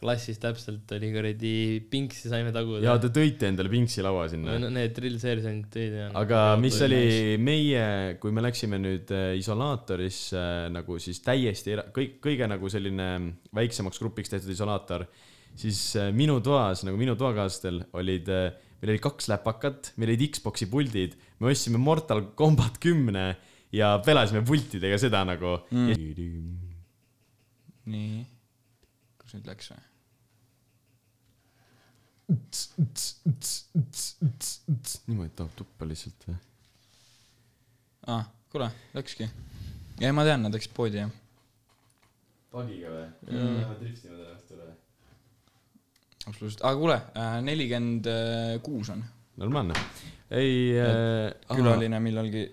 S2: klassis täpselt oli kuradi pingsi saime taguda .
S3: ja te tõite endale pingsi laua sinna .
S2: no need drill series ainult tõid ja .
S3: aga mis oli meie , kui me läksime nüüd äh, isolaatorisse äh, nagu siis täiesti era- kõik , kõige nagu selline väiksemaks grupiks tehtud isolaator , siis äh, minu toas , nagu minu toakaaslastel olid , meil oli kaks läpakat , meil olid Xbox'i puldid , me ostsime Mortal Combat kümne ja pelasime pultidega seda nagu mm. .
S1: nii . kus nüüd läks või ?
S3: niimoodi tahab tuppa lihtsalt või ?
S1: aa , Ah, kuule , läkski . ei , ma tean , nad läksid poodi jah .
S3: pagiga või mm. ? Lähevad driftima täna õhtul või ?
S1: absoluutselt , aga kuule , nelikümmend kuus on .
S3: normaalne . ei äh, .
S1: külaline millalgi ,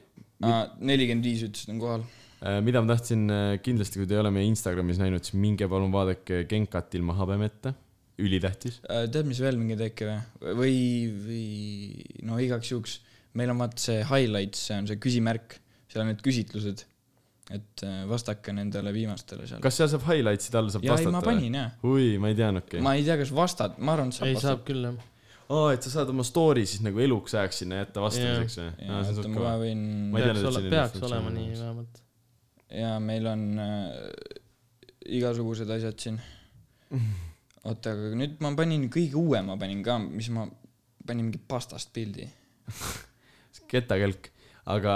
S1: nelikümmend viis ütlesid on kohal .
S3: Äh, mida ma tahtsin äh, kindlasti , kui te ei ole meie Instagramis näinud , siis minge palun vaadake Genkat ilma habemeta , ülitähtis .
S1: Äh, tead , mis veel mingi teke või ? või , või no igaks juhuks , meil on vaata see highlights , see on see küsimärk , seal on need küsitlused . et äh, vastake nendele viimastele seal .
S3: kas seal saab highlight'id all saab
S1: ja ei , ma
S3: vastata ?
S1: panin jah .
S3: oi , ma ei teadnudki ma... .
S1: ma ei tea , kas vastad , ma arvan , et saab
S2: ei
S1: vastata .
S2: saab küll jah .
S3: aa , et sa saad oma story siis nagu eluks ajaks sinna jätta vastamiseks või ? aa , see on
S1: oota ,
S3: suht
S1: ma
S3: kõva .
S1: võin
S3: Ma ei teadnud, et
S2: peaks ole-
S3: selline
S2: peaks
S3: funktsioon
S2: olema
S3: on
S2: nii
S3: olemas.
S2: vähemalt .
S1: ja meil on äh, igasugused asjad siin . oota , aga nüüd ma panin kõige uuema panin ka , mis ma panin mingi pastast pildi .
S3: ketakelk , aga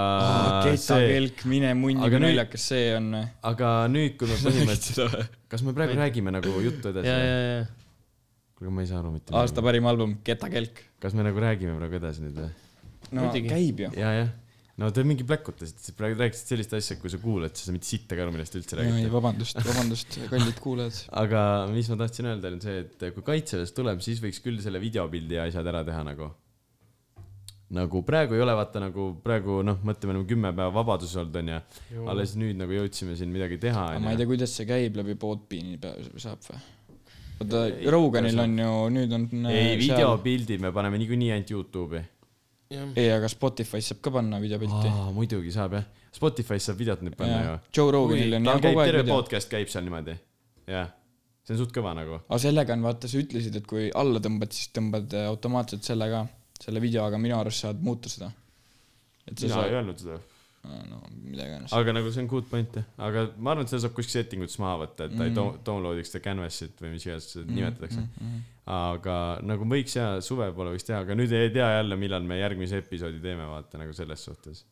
S3: see ,
S1: ketakelk , mine munni ,
S3: aga
S1: kui
S3: nüüd-
S1: naljakas see on . äh,
S3: aga nüüd , kui me põhimõtteliselt , kas me praegu räägime nagu juttu edasi
S2: ja ,
S3: või ?
S2: ja , ja .
S3: kuule , ma ei saa aru mitte
S1: aasta
S3: midagi .
S1: parim album , Ketakelk .
S3: kas me nagu räägime praegu edasi nüüd või ?
S1: no
S2: Muidugi.
S1: käib ju .
S3: ja , jah . no te mingi pläkutasite , praegu rääkisite sellist asja , kui sa kuulad , siis sa mitte sittagi aru , millest te üldse räägite
S1: ei ,. vabandust , vabandust , kallid kuulajad .
S3: aga mis ma tahtsin öelda , on see , et kui kaitseväes tuleb , siis võiks küll selle videopildi ja asjad ära teha nagu . nagu praegu ei ole , vaata nagu praegu noh , mõtleme nagu kümme päeva vabaduses olnud onju , alles nüüd nagu jõudsime siin midagi teha
S1: aga ma ei
S3: onju .
S1: tea , kuidas see käib läbi Podbeani pea- saab või ? oota , Roganil on ju , nüüd on . äh,
S3: ei ,. videopildi me paneme niikuinii ainult Youtube'i .
S1: ei , aga Spotify's saab ka panna videopilti .
S3: muidugi saab jah , Spotify's saab videot nüüd panna ju .
S1: Joe Roganil
S3: tal
S1: on jah kogu
S3: käib
S1: aeg
S3: terve
S1: video .
S3: podcast käib seal niimoodi , jah , see on suht kõva nagu
S1: aga sellega on vaata , sa ütlesid , et kui alla tõmbad , siis tõmbad äh, automaatselt selle ka , selle videoga , minu arust saad muuta seda . et sa
S3: mina ei
S1: saad ,
S3: öelnud seda ,
S1: no mida iganes .
S3: aga nagu see on good point jah , aga ma arvan , et seda saab kuskil settingutes maha võtta , et ta ei down- download'iks seda canvas'it või mis iganes seda nimetatakse mm . -hmm. aga nagu võiks ja suvepoole võiks teha , aga nüüd ei tea jälle , millal me järgmise episoodi teeme , vaata nagu selles suhtes .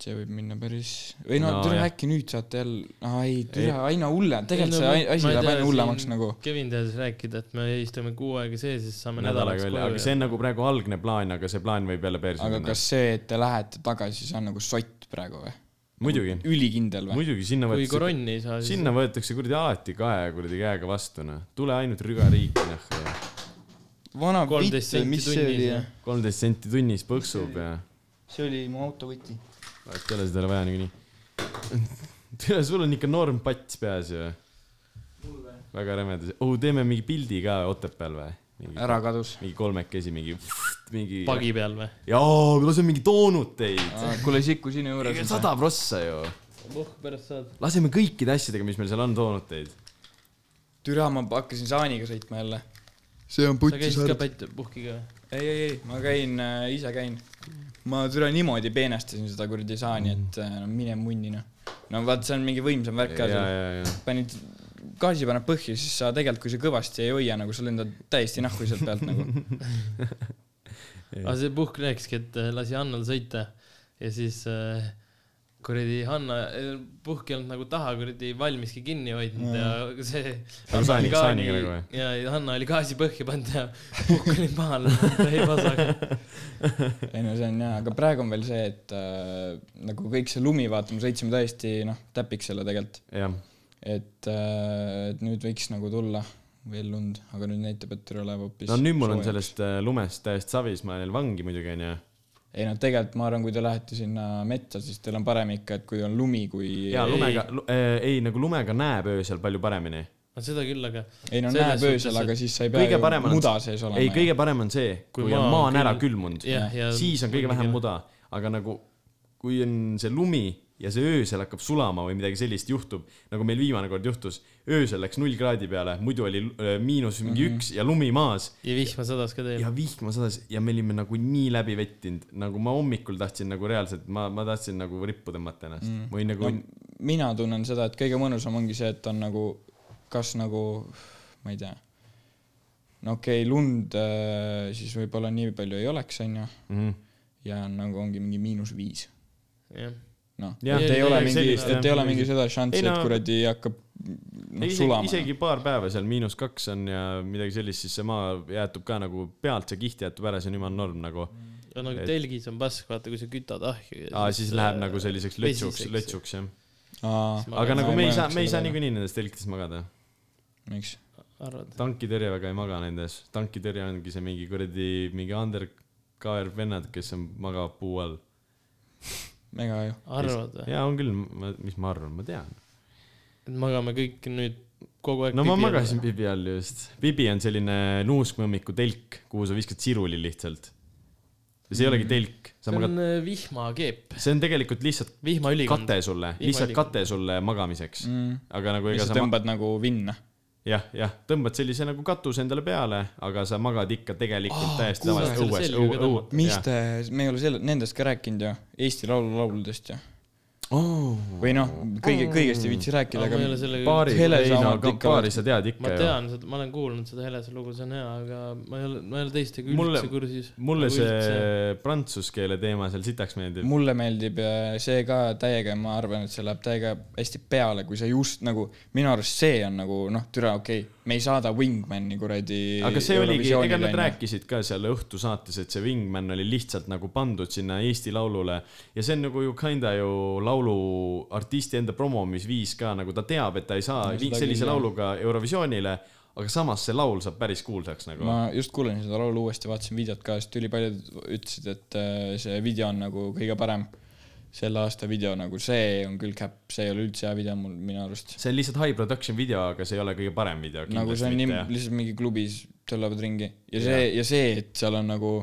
S1: see võib minna päris , või no,
S3: No
S1: no türa
S3: jah.
S1: äkki nüüd saate jälle , ei türa aina hullem , tegelikult
S2: Ei,
S1: see
S2: no ma-
S1: ai- asi
S2: ma ei
S1: läheb
S2: tea,
S1: aina hullemaks
S2: siin
S1: nagu .
S2: Kevin teadis rääkida , et me istume kuu aega sees ja siis saame nädalaks
S3: nädalaga välja , aga see
S2: koju .
S3: on nagu praegu algne plaan , aga see plaan võib jälle perse
S1: aga
S3: minna .
S1: kas see , et te lähete tagasi , see on nagu sott praegu või ?
S3: muidugi ,
S1: ülikindel või ?
S3: muidugi sinna
S2: kui
S3: võetakse ,
S2: koronni ei saa , siis
S3: sinna võetakse kuradi alati kahe kuradi käega vastu , noh . tule ainult rügariiki , noh .
S1: vana
S2: 13
S1: vitt või
S2: senti
S1: mis see
S2: tunnis,
S1: oli
S2: jah. ?
S3: kolmteist senti tunnis põksub ja
S1: see oli mu autovõti .
S3: vaat ei ole seda vaja niikuinii . tere , sul on ikka norm pats peas ju . väga rämedas . oh , teeme mingi pildi ka Otepääl või ?
S1: ära kadus .
S3: mingi kolmekesi , mingi , mingi .
S2: pagi peal või ?
S3: jaa , lase mingi toonud teid .
S1: Ah, kuule , Siku , sinu juures on see .
S3: sada prossa ju .
S2: puhk pärast saad .
S3: laseme kõikide asjadega , mis meil seal on , toonud teid .
S1: türa , ma hakkasin saaniga sõitma jälle .
S2: sa käisid ka pätt- , puhkiga või ?
S1: ei , ei , ei , ma käin äh, , ise käin . ma türa niimoodi peenestasin seda kuradi saani , et äh, no mine munni noh . no vaat see on mingi võimsam värk
S3: ja ,
S1: ka
S3: ja
S1: seal .,
S3: ja ,
S1: panid , gaasi paneb põhja , siis sa tegelikult , kui sa kõvasti ei hoia , nagu sa lendad täiesti nahku sealt pealt nagu .
S2: Ah, aga see puhk rääkiski , et äh, lasi Annal sõita ja siis äh, kuradi Hanna eh, puhk ei olnud nagu taha kuradi valmiski kinni hoidnud ja see .
S3: saani- saaniga nagu või?
S2: ja ja Hanna oli gaasi põhja pannud ja puhk oli maha läinud , ta ei vasaga .
S1: ei no see on jaa , aga praegu on veel see , et äh, nagu kõik see lumi , vaata , me sõitsime täiesti noh , täpiksele tegelikult ,
S3: jah ,
S1: et , äh, et nüüd võiks nagu tulla veel lund , aga nüüd näitab , et tuleb hoopis .
S3: no nüüd mul on . sellest äh, lumest täiesti savis , ma jään vangi muidugi onju .
S1: ei no tegelikult ma arvan , kui te lähete sinna metsa , siis teil on parem ikka , et kui on lumi , kui .
S3: ja lumega , ei nagu lumega näeb öösel palju paremini .
S2: no seda küll , aga
S1: ei no
S2: selles
S1: näeb
S2: suhtes,
S1: öösel , aga siis sa ei pea
S3: kõige parem
S1: ju
S3: on
S1: muda sees olema .
S3: ei , kõige parem on see , kui
S2: Kui
S3: on
S2: maa
S3: maa
S2: on
S3: on ära
S2: külm-
S3: külmunud ,
S2: jah , ja .
S3: siis on kõige vähem . muda , aga nagu kui on see lumi ja see öösel hakkab sulama või midagi sellist juhtub , nagu meil viimane kord juhtus , öösel läks null kraadi peale , muidu oli äh, miinus mingi üks ja lumi maas
S2: ja vihma sadas ka teil .
S3: ja vihma sadas ja me olime nagu nii läbi vettinud , nagu ma hommikul tahtsin nagu reaalselt , ma , ma tahtsin nagu rippu tõmmata ennast mm. või nagu
S1: no,
S3: no.
S1: mina tunnen seda , et kõige mõnusam ongi see , et on nagu kas nagu , ma ei tea , no okei okay, , lund äh, siis võib-olla nii palju ei oleks , onju ,
S3: Mm
S1: ja on nagu ongi mingi miinus viis .
S2: jah ,
S1: noh ,
S3: Jah,
S1: et ei
S2: ei,
S1: ole
S2: ei,
S1: mingi ,
S2: sellist,
S1: et
S3: jah.
S1: ei ole mingi seda šanssi ,
S3: Ei, no-
S1: et kuradi hakkab
S3: no,
S1: noh
S3: isegi ,
S1: sulama .
S3: isegi paar päeva seal miinus kaks on ja midagi sellist , siis see maa jäätub ka nagu pealt , see kiht jäätub ära , see on jumala norm nagu
S2: nagu
S3: Et-
S2: telgis on pask , vaata , kui sa kütad ahju .
S3: aa , siis läheb nagu selliseks lötsuks , lötsuks jah .
S1: aa ,
S2: äh, Ma
S3: aga
S2: arvan,
S3: nagu
S1: ma
S3: me
S1: ei
S3: ei saa ,
S1: mõelnud
S3: me ei saa
S1: selle peale.
S3: niikuinii nendes telkides magada .
S1: miks ?
S2: arvad ?
S3: tankitõrje väga ei maga nendes , tankitõrje ongi see mingi kuradi , mingi undercover vennad , kes on , magavad puu all .
S1: mega ju .
S2: arvad või ?
S3: jaa , on küll , mis ma arvan , ma tean .
S2: et magame kõik nüüd kogu aeg .
S3: no ma magasin . Bibi all just . Bibi on selline nuuskmõmmiku telk , kuhu sa viskad siruli lihtsalt . ja see ei olegi telk , sa
S2: see
S3: magad ,
S2: on äh, vihmakeep ,
S3: see on tegelikult lihtsalt
S2: vihmaülikond .
S3: kate sulle , lihtsalt
S2: Vihmaülikond.
S3: kate sulle magamiseks .
S1: Mm.
S3: aga nagu ega
S1: sa
S3: sa ma-
S1: tõmbad nagu vinna .
S3: jah , jah , tõmbad sellise nagu katuse endale peale , aga sa magad ikka tegelikult oh, täiesti
S2: kuule,
S3: tavaliselt
S2: selle
S3: õues ,
S2: selga ka
S3: õues
S2: tõmbad. .
S1: mis te , me ei ole selle , nendest ka rääkinud ju , Eesti Laulu lauludest ju .
S3: oh, ?
S1: või noh , kõige , kõigest ei viitsi rääkida ,
S2: aga ma ei ole
S1: aga
S2: sellega
S3: paari ,
S1: Hele
S3: ei no
S1: saavad
S3: aga
S1: ikka
S3: paari sa tead
S2: ma
S3: ikka ju .
S2: tean seda , ma olen kuulnud seda Helese lugu , see on hea , aga ma ei ole , ma ei ole teistega
S3: Mulle-
S2: üldse kursis . Nagu
S3: mulle see prantsuse keele teema seal sitaks meeldib .
S1: mulle meeldib äh, see ka täiega ja ma arvan , et see läheb täiega hästi peale , kui sa just nagu , minu arust see on nagu noh , türa , okei okay, , me ei saada Wingmani kuradi .
S3: aga see oligi , ega nad . rääkisid ka seal õhtusaates , et see Wingman oli lihtsalt nagu pandud sinna Eesti Laulule ja see on nagu ju kinda ju lauluartisti enda promomisviis ka nagu ta teab , et ta ei saa
S1: No seda
S3: vi- sellise
S1: küll, jah.
S3: lauluga Eurovisioonile , aga samas see laul saab päris kuulsaks nagu .
S1: ma just kuulasin seda laulu uuesti , vaatasin videot ka , sest ülipaljud ütlesid , et äh, see video on nagu kõige parem selle aasta video , nagu see on küll käpp , see ei ole üldse hea video mul , minu arust .
S3: see on lihtsalt high production video , aga see ei ole kõige parem video
S1: nagu see
S3: kindlasti
S1: on
S3: nagu
S1: nii
S3: mitte , jah .
S1: lihtsalt mingi klubis tõllevad ringi ja see ja see , et seal on nagu ,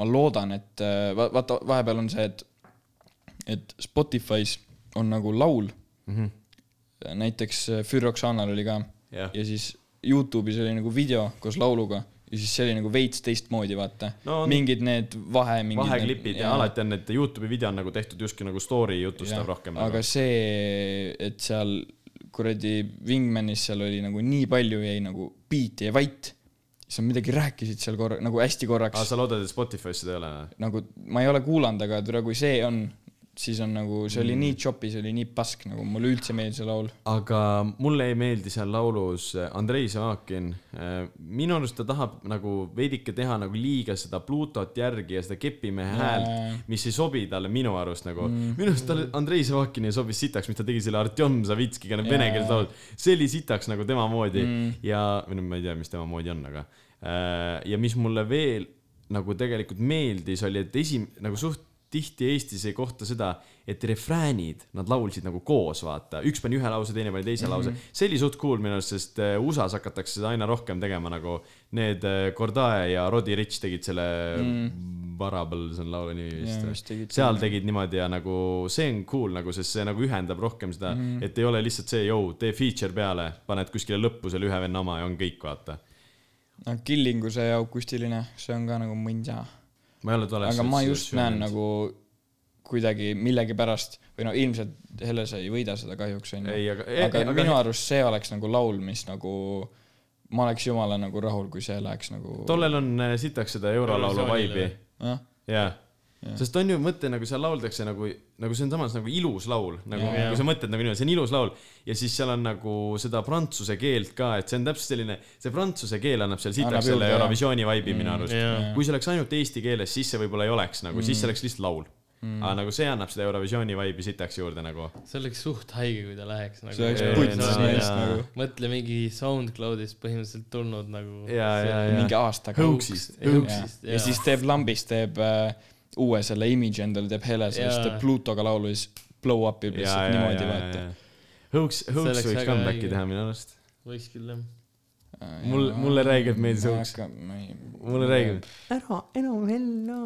S1: ma loodan , et äh, va- vaata , vahepeal on see , et , et Spotify's on nagu laul mm . -hmm. näiteks äh, Füroxanal oli ka
S3: Mhm. Jah.
S1: ja siis Youtube'is oli nagu video koos lauluga ja siis see oli nagu veits teistmoodi , vaata
S3: No
S1: no,
S3: on- .
S1: mingid need vahe .
S3: vaheklipid ja alati on need Youtube'i video on nagu tehtud justkui nagu story jutustav rohkem . nagu.
S1: aga see , et seal kuradi Wingmanis seal oli nagu nii palju jäi nagu biiti ja vait , siis nad midagi rääkisid seal korra , nagu hästi
S3: aa ,
S1: korraks ,
S3: Ah, sa loodad , et Spotify's seda ei ole või ?
S1: nagu ma ei ole kuulanud , aga tule , kui see on , siis on nagu , see
S3: Mm.
S1: oli nii choppy , see oli nii pask , nagu mulle üldse ei meeldi see laul .
S3: aga mulle ei meeldi seal laulus eh, Andrei Saakin . minu arust ta tahab nagu veidike teha nagu liiga seda Pluutot järgi ja seda kepimehe häält , mis ei sobi talle minu arust nagu mm. . minu arust talle Andrei Saakin ei sobi sitaks , mis ta tegi selle Artjom Savitskiga , need vene keeles laulud . see oli sitaks nagu tema moodi mm. ja , või no ma ei tea , mis tema moodi on , aga . ja mis mulle veel nagu tegelikult meeldis , oli , et esim- , nagu suht tihti Eestis ei kohta seda , et refräänid , nad laulsid nagu koos , vaata , üks pani ühe lause , teine pani teise mm -hmm. lause . see oli suht cool minu arust , sest äh, USA-s hakatakse seda aina rohkem tegema , nagu need äh, Kordae ja Roddy Rich tegid selle mm. Variable , see on laulu nimi
S1: Jaa,
S3: vist
S1: vist tegid .
S3: seal tegid niimoodi ja nagu see on cool nagu , sest see nagu ühendab rohkem seda
S1: Mhm.
S3: mm , -hmm. et ei ole lihtsalt see , jõu , tee feature peale , paned kuskile lõppu selle ühe venna oma ja on kõik , vaata .
S1: noh , Killingu see akustiline , see on ka nagu mõnda .
S3: ma ei ole tollest .
S1: aga ma just näen . nagu kuidagi millegipärast või no ilmselt Helle sa ei võida seda kahjuks onju .
S3: ei , aga ,
S1: aga, aga minu
S3: aga
S1: arust see oleks nagu laul , mis nagu , ma oleks jumala nagu rahul , kui see läheks nagu .
S3: tollel on äh, sitaks seda eurolaulu
S2: Eurovisioonile
S3: vibe'i
S2: või?
S1: jah ,
S3: jaa , sest on ju mõte nagu seal lauldakse nagu , nagu see on samas nagu ilus laul , nagu
S1: Jaa.
S3: yeah. kui sa mõtled nagu niimoodi , see on ilus laul ja siis seal on nagu seda prantsuse keelt ka , et see on täpselt selline , see prantsuse keel annab seal
S1: Annab
S3: sitaks selle
S1: juurde, jah. Mm.
S3: Eurovisiooni vibe'i minu arust .
S2: jaa ,
S3: kui see oleks ainult eesti keeles , siis see võib-olla ei oleks nagu , siis see oleks lihtsalt laul . aga nagu see annab seda Eurovisiooni vibe'i sitaks juurde nagu .
S2: see oleks suht haige , kui ta läheks nagu .
S1: see oleks
S3: Jaa,
S1: putsis
S3: jaa,
S1: meest
S3: jaa.
S1: nagu .
S2: mõtle mingi SoundCloudist põhimõtteliselt tulnud nagu .
S3: ja , ja ,
S1: mingi
S3: ja .
S1: aastaga .
S3: Hoaxist .
S2: Hoaxist ,
S1: ja siis teeb lambist , teeb äh, uue selle imidži endale , teeb hele , siis
S2: Jaa.
S1: teeb Plutoga laulu ja siis blow up ib
S3: ja ,
S1: lihtsalt
S3: ja ,
S1: niimoodi
S3: ja ,
S1: vaata
S3: ja . Hoax ,
S2: See
S3: Hoax
S2: oleks
S3: võiks
S2: väga
S3: comeback'i
S2: õige.
S3: teha minu arust .
S2: võiks küll jah .
S3: Mul- mulle räigelt meeldis Hoax.
S1: Hoax . mulle
S3: mulle räägib . ära enam ellu ,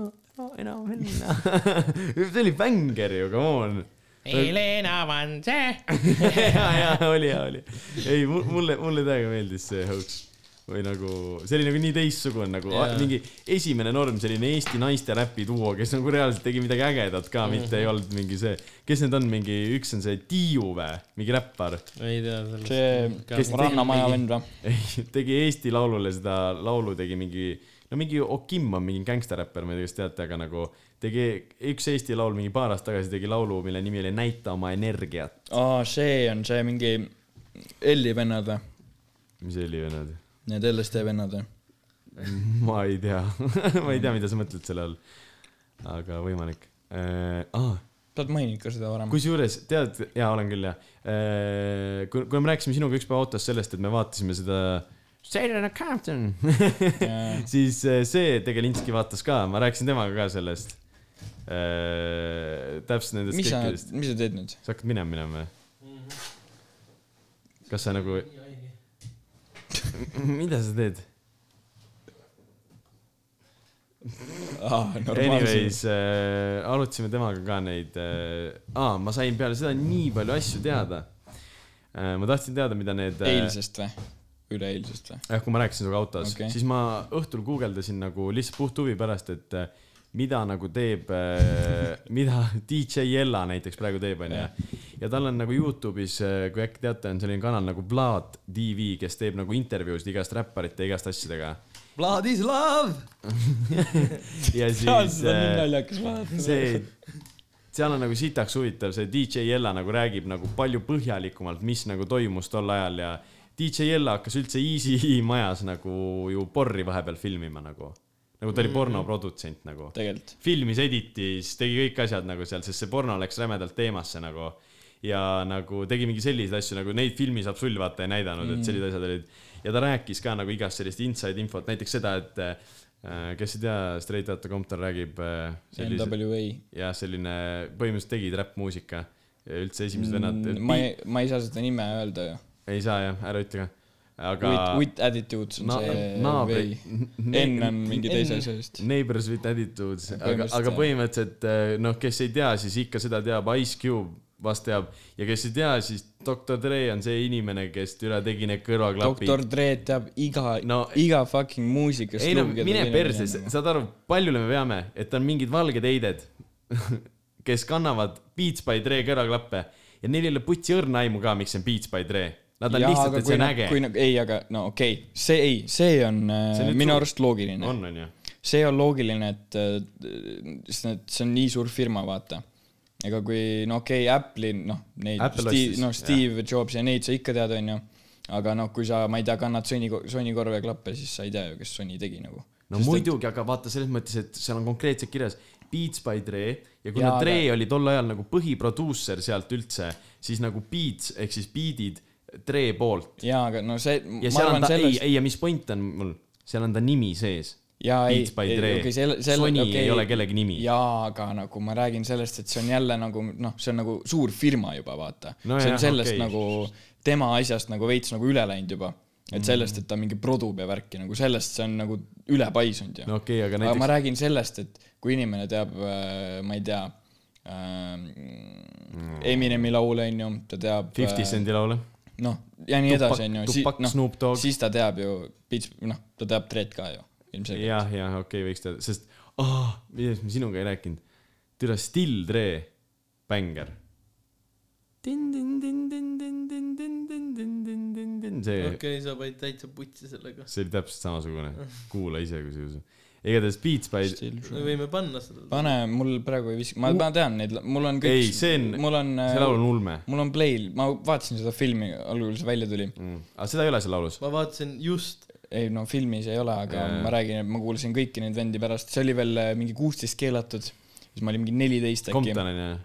S3: ära enam ellu . see oli bänger ju , come on .
S2: Helena Vanse .
S3: ja , ja oli , oli . ei , mulle , mulle täiega meeldis see Hoax või nagu , see oli nagu nii teistsugune nagu yeah.
S2: Jaa.
S3: mingi esimene norm , selline Eesti naiste räpiduo , kes nagu reaalselt tegi midagi ägedat ka mm , -hmm. mitte ei olnud mingi see , kes need on , mingi üks on see Tiiu või , mingi räppar .
S2: ei tea sellest .
S1: see , kes Rannamaja vend või ?
S3: ei , tegi Eesti Laulule seda laulu , tegi mingi , no mingi Okim on mingi gängstaräppar , ma ei tea , kas teate , aga nagu tegi üks Eesti laul mingi paar aastat tagasi tegi laulu , mille nimi oli Näita oma energiat .
S1: aa , see on see mingi Elli vennad või ?
S3: mis see oli vennad ?
S1: Need LSD vennad või ?
S3: ma ei tea , ma
S1: Mm.
S3: ei tea , mida sa mõtled selle all . aga võimalik äh, . Ah,
S1: sa oled maininud ka seda varem .
S3: kusjuures tead , jaa , olen küll jah äh, . kui , kui me rääkisime sinuga ükspäev autos sellest , et me vaatasime seda Saturday Night Captain siis äh, see Tegelinski vaatas ka , ma rääkisin temaga ka sellest äh, . täpselt nendest
S1: mis sa ,
S3: kõikidest .
S1: mis sa teed nüüd ?
S3: sa hakkad minema minema või ?
S1: Mhm.
S3: kas sa nagu , mida sa teed ?
S1: aa , normaalselt .
S3: Anyways äh, , arutasime temaga ka neid äh, , aa , ma sain peale seda nii palju asju teada äh, . ma tahtsin teada , mida need äh,
S1: eilsest või ? üleeilsest või ?
S3: jah , kui ma rääkisin sinuga autos
S1: Okei.
S3: okay. , siis ma õhtul guugeldasin nagu lihtsalt puht huvi pärast , et äh, mida nagu teeb äh, , mida DJ Ella näiteks praegu teeb , onju . ja tal on nagu Youtube'is , kui äkki teate , on selline kanal nagu Vlad TV , kes teeb nagu intervjuusid igast räpparite , igast asjadega .
S2: Blood is love .
S3: ja siis
S1: see on nii
S3: äh,
S1: naljakas vaadata .
S3: see , seal on nagu sitaks huvitav , see DJ Ella nagu räägib nagu palju põhjalikumalt , mis nagu toimus tol ajal ja DJ Ella hakkas üldse Easy majas nagu ju porri vahepeal filmima nagu , nagu ta oli pornoprodutsent nagu .
S1: tegelikult .
S3: filmis , editis , tegi kõik asjad nagu seal , sest see porno läks rämedalt teemasse nagu . ja nagu tegi mingi selliseid asju nagu neid filmi saab sul vaata ei näidanud mm. , et sellised asjad olid . ja ta rääkis ka nagu igast sellist inside infot , näiteks seda , et äh, kes ei tea , Straight Outta Compton räägib äh, sellise ,
S1: NWA .
S3: jah , selline , põhimõtteliselt tegid räppmuusika . üldse esimesed vennad
S1: Mm, ma ei , ma ei saa seda nime öelda ju .
S3: ei saa jah , ära ütle ka . aga
S1: With , with attitudes on
S3: Na-
S1: see
S3: naabri-
S1: või . N on mingi teise asja vist .
S3: Neighbors with attitudes , aga ,
S1: Põhimõtteliselt
S3: aga
S1: jah.
S3: põhimõtteliselt eh, noh , kes ei tea , siis ikka seda teab , Ice Cube vast teab ja kes ei tea , siis Doktor Dre on see inimene , kes türa tegi need kõrvaklapid .
S1: doktor Dre teab iga
S3: No-
S1: no, , iga fucking muusikas .
S3: ei no mine perse , saad aru , paljule me veame , et on mingid valged heided , kes kannavad Beats by Dre kõrvaklappe ja neil ei ole putsi õrna aimu ka , miks see on Beats by Dre . Nad on lihtsalt , et see on äge .
S1: kui nagu , ei , aga no okei okay. , see ei , see on
S3: See
S1: see
S3: on nüüd
S1: minu
S3: suur-
S1: arust loogiline .
S3: on , on ju .
S1: see on loogiline , et äh, sest need , see on nii suur firma , vaata . ega kui , no okei okay, , Apple'i , noh , neid
S3: Apple , ostis,
S1: noh , Steve Jobs ja neid sa ikka tead , onju . aga noh , kui sa , ma ei tea , kannad Sony , Sony korveklappe , siis sa ei tea ju , kes Sony tegi nagu .
S3: no Sest muidugi , aga vaata selles mõttes , et seal on konkreetselt kirjas Beats by Dre ja kuna
S1: Jaa,
S3: ja,
S1: aga-
S3: Dre aga... oli tol ajal nagu põhiproduusser sealt üldse , siis nagu beats ehk siis beat'id Dre poolt .
S1: jaa , aga no see ,
S3: ja
S1: ma
S3: seal on
S1: arvan
S3: ta , ei ,
S1: sellest ,
S3: ei ja mis point on mul , seal on ta nimi sees .
S1: jaa , ei
S3: Beats , by Dre
S1: okei , selle , selle ,
S3: Sony ei ole kellegi nimi .
S1: jaa , aga nagu ma räägin sellest , et see on jälle nagu noh , see on nagu suur firma juba vaata
S3: No
S1: no . see
S3: jah,
S1: on sellest
S3: okei.
S1: okay. nagu tema asjast nagu veits nagu üle läinud juba . et
S3: Mhm.
S1: sellest , et ta mingi produb ja värki nagu sellest , see on nagu üle paisunud ju
S3: no okei okay, , aga
S1: aga ma
S3: näiteks ,
S1: räägin sellest , et kui inimene teab , ma ei tea äh, , Eminemi laule onju , ta teab .
S3: Fifty Cendi laule .
S1: noh , ja nii
S3: Tupac-
S1: edasi onju .
S3: Tupac, Snoop Dogg.
S1: noh, siis ta teab ju , noh , ta teab Dread ka ju ilmselgelt .
S3: jah , jah , okei okay, , võiks teada , sest oh, , millest me sinuga ei rääkinud . türa Still Dre , bängar . see
S2: okei , sa panid täitsa putsi sellega .
S3: see oli täpselt samasugune , kuula ise , kui sa ei usu . igatahes Beats by ,
S2: me võime panna seda .
S1: pane , mul praegu ei viska , ma ma tean neid , mul on kõik .
S3: ei , see on ,
S1: mul on ,
S3: see laul on ulme
S1: mul on play , ma vaatasin seda filmi algul , kui see välja tuli .
S3: mm. . aga seda ei ole seal laulus .
S2: ma vaatasin just ,
S1: ei no filmis ei ole , aga
S3: Jaa.
S1: ma räägin , et ma kuulsin kõiki neid vendi pärast , see oli veel äh, mingi kuusteist keelatud , siis ma olin mingi neliteist äkki .
S3: Compton on ju mm. .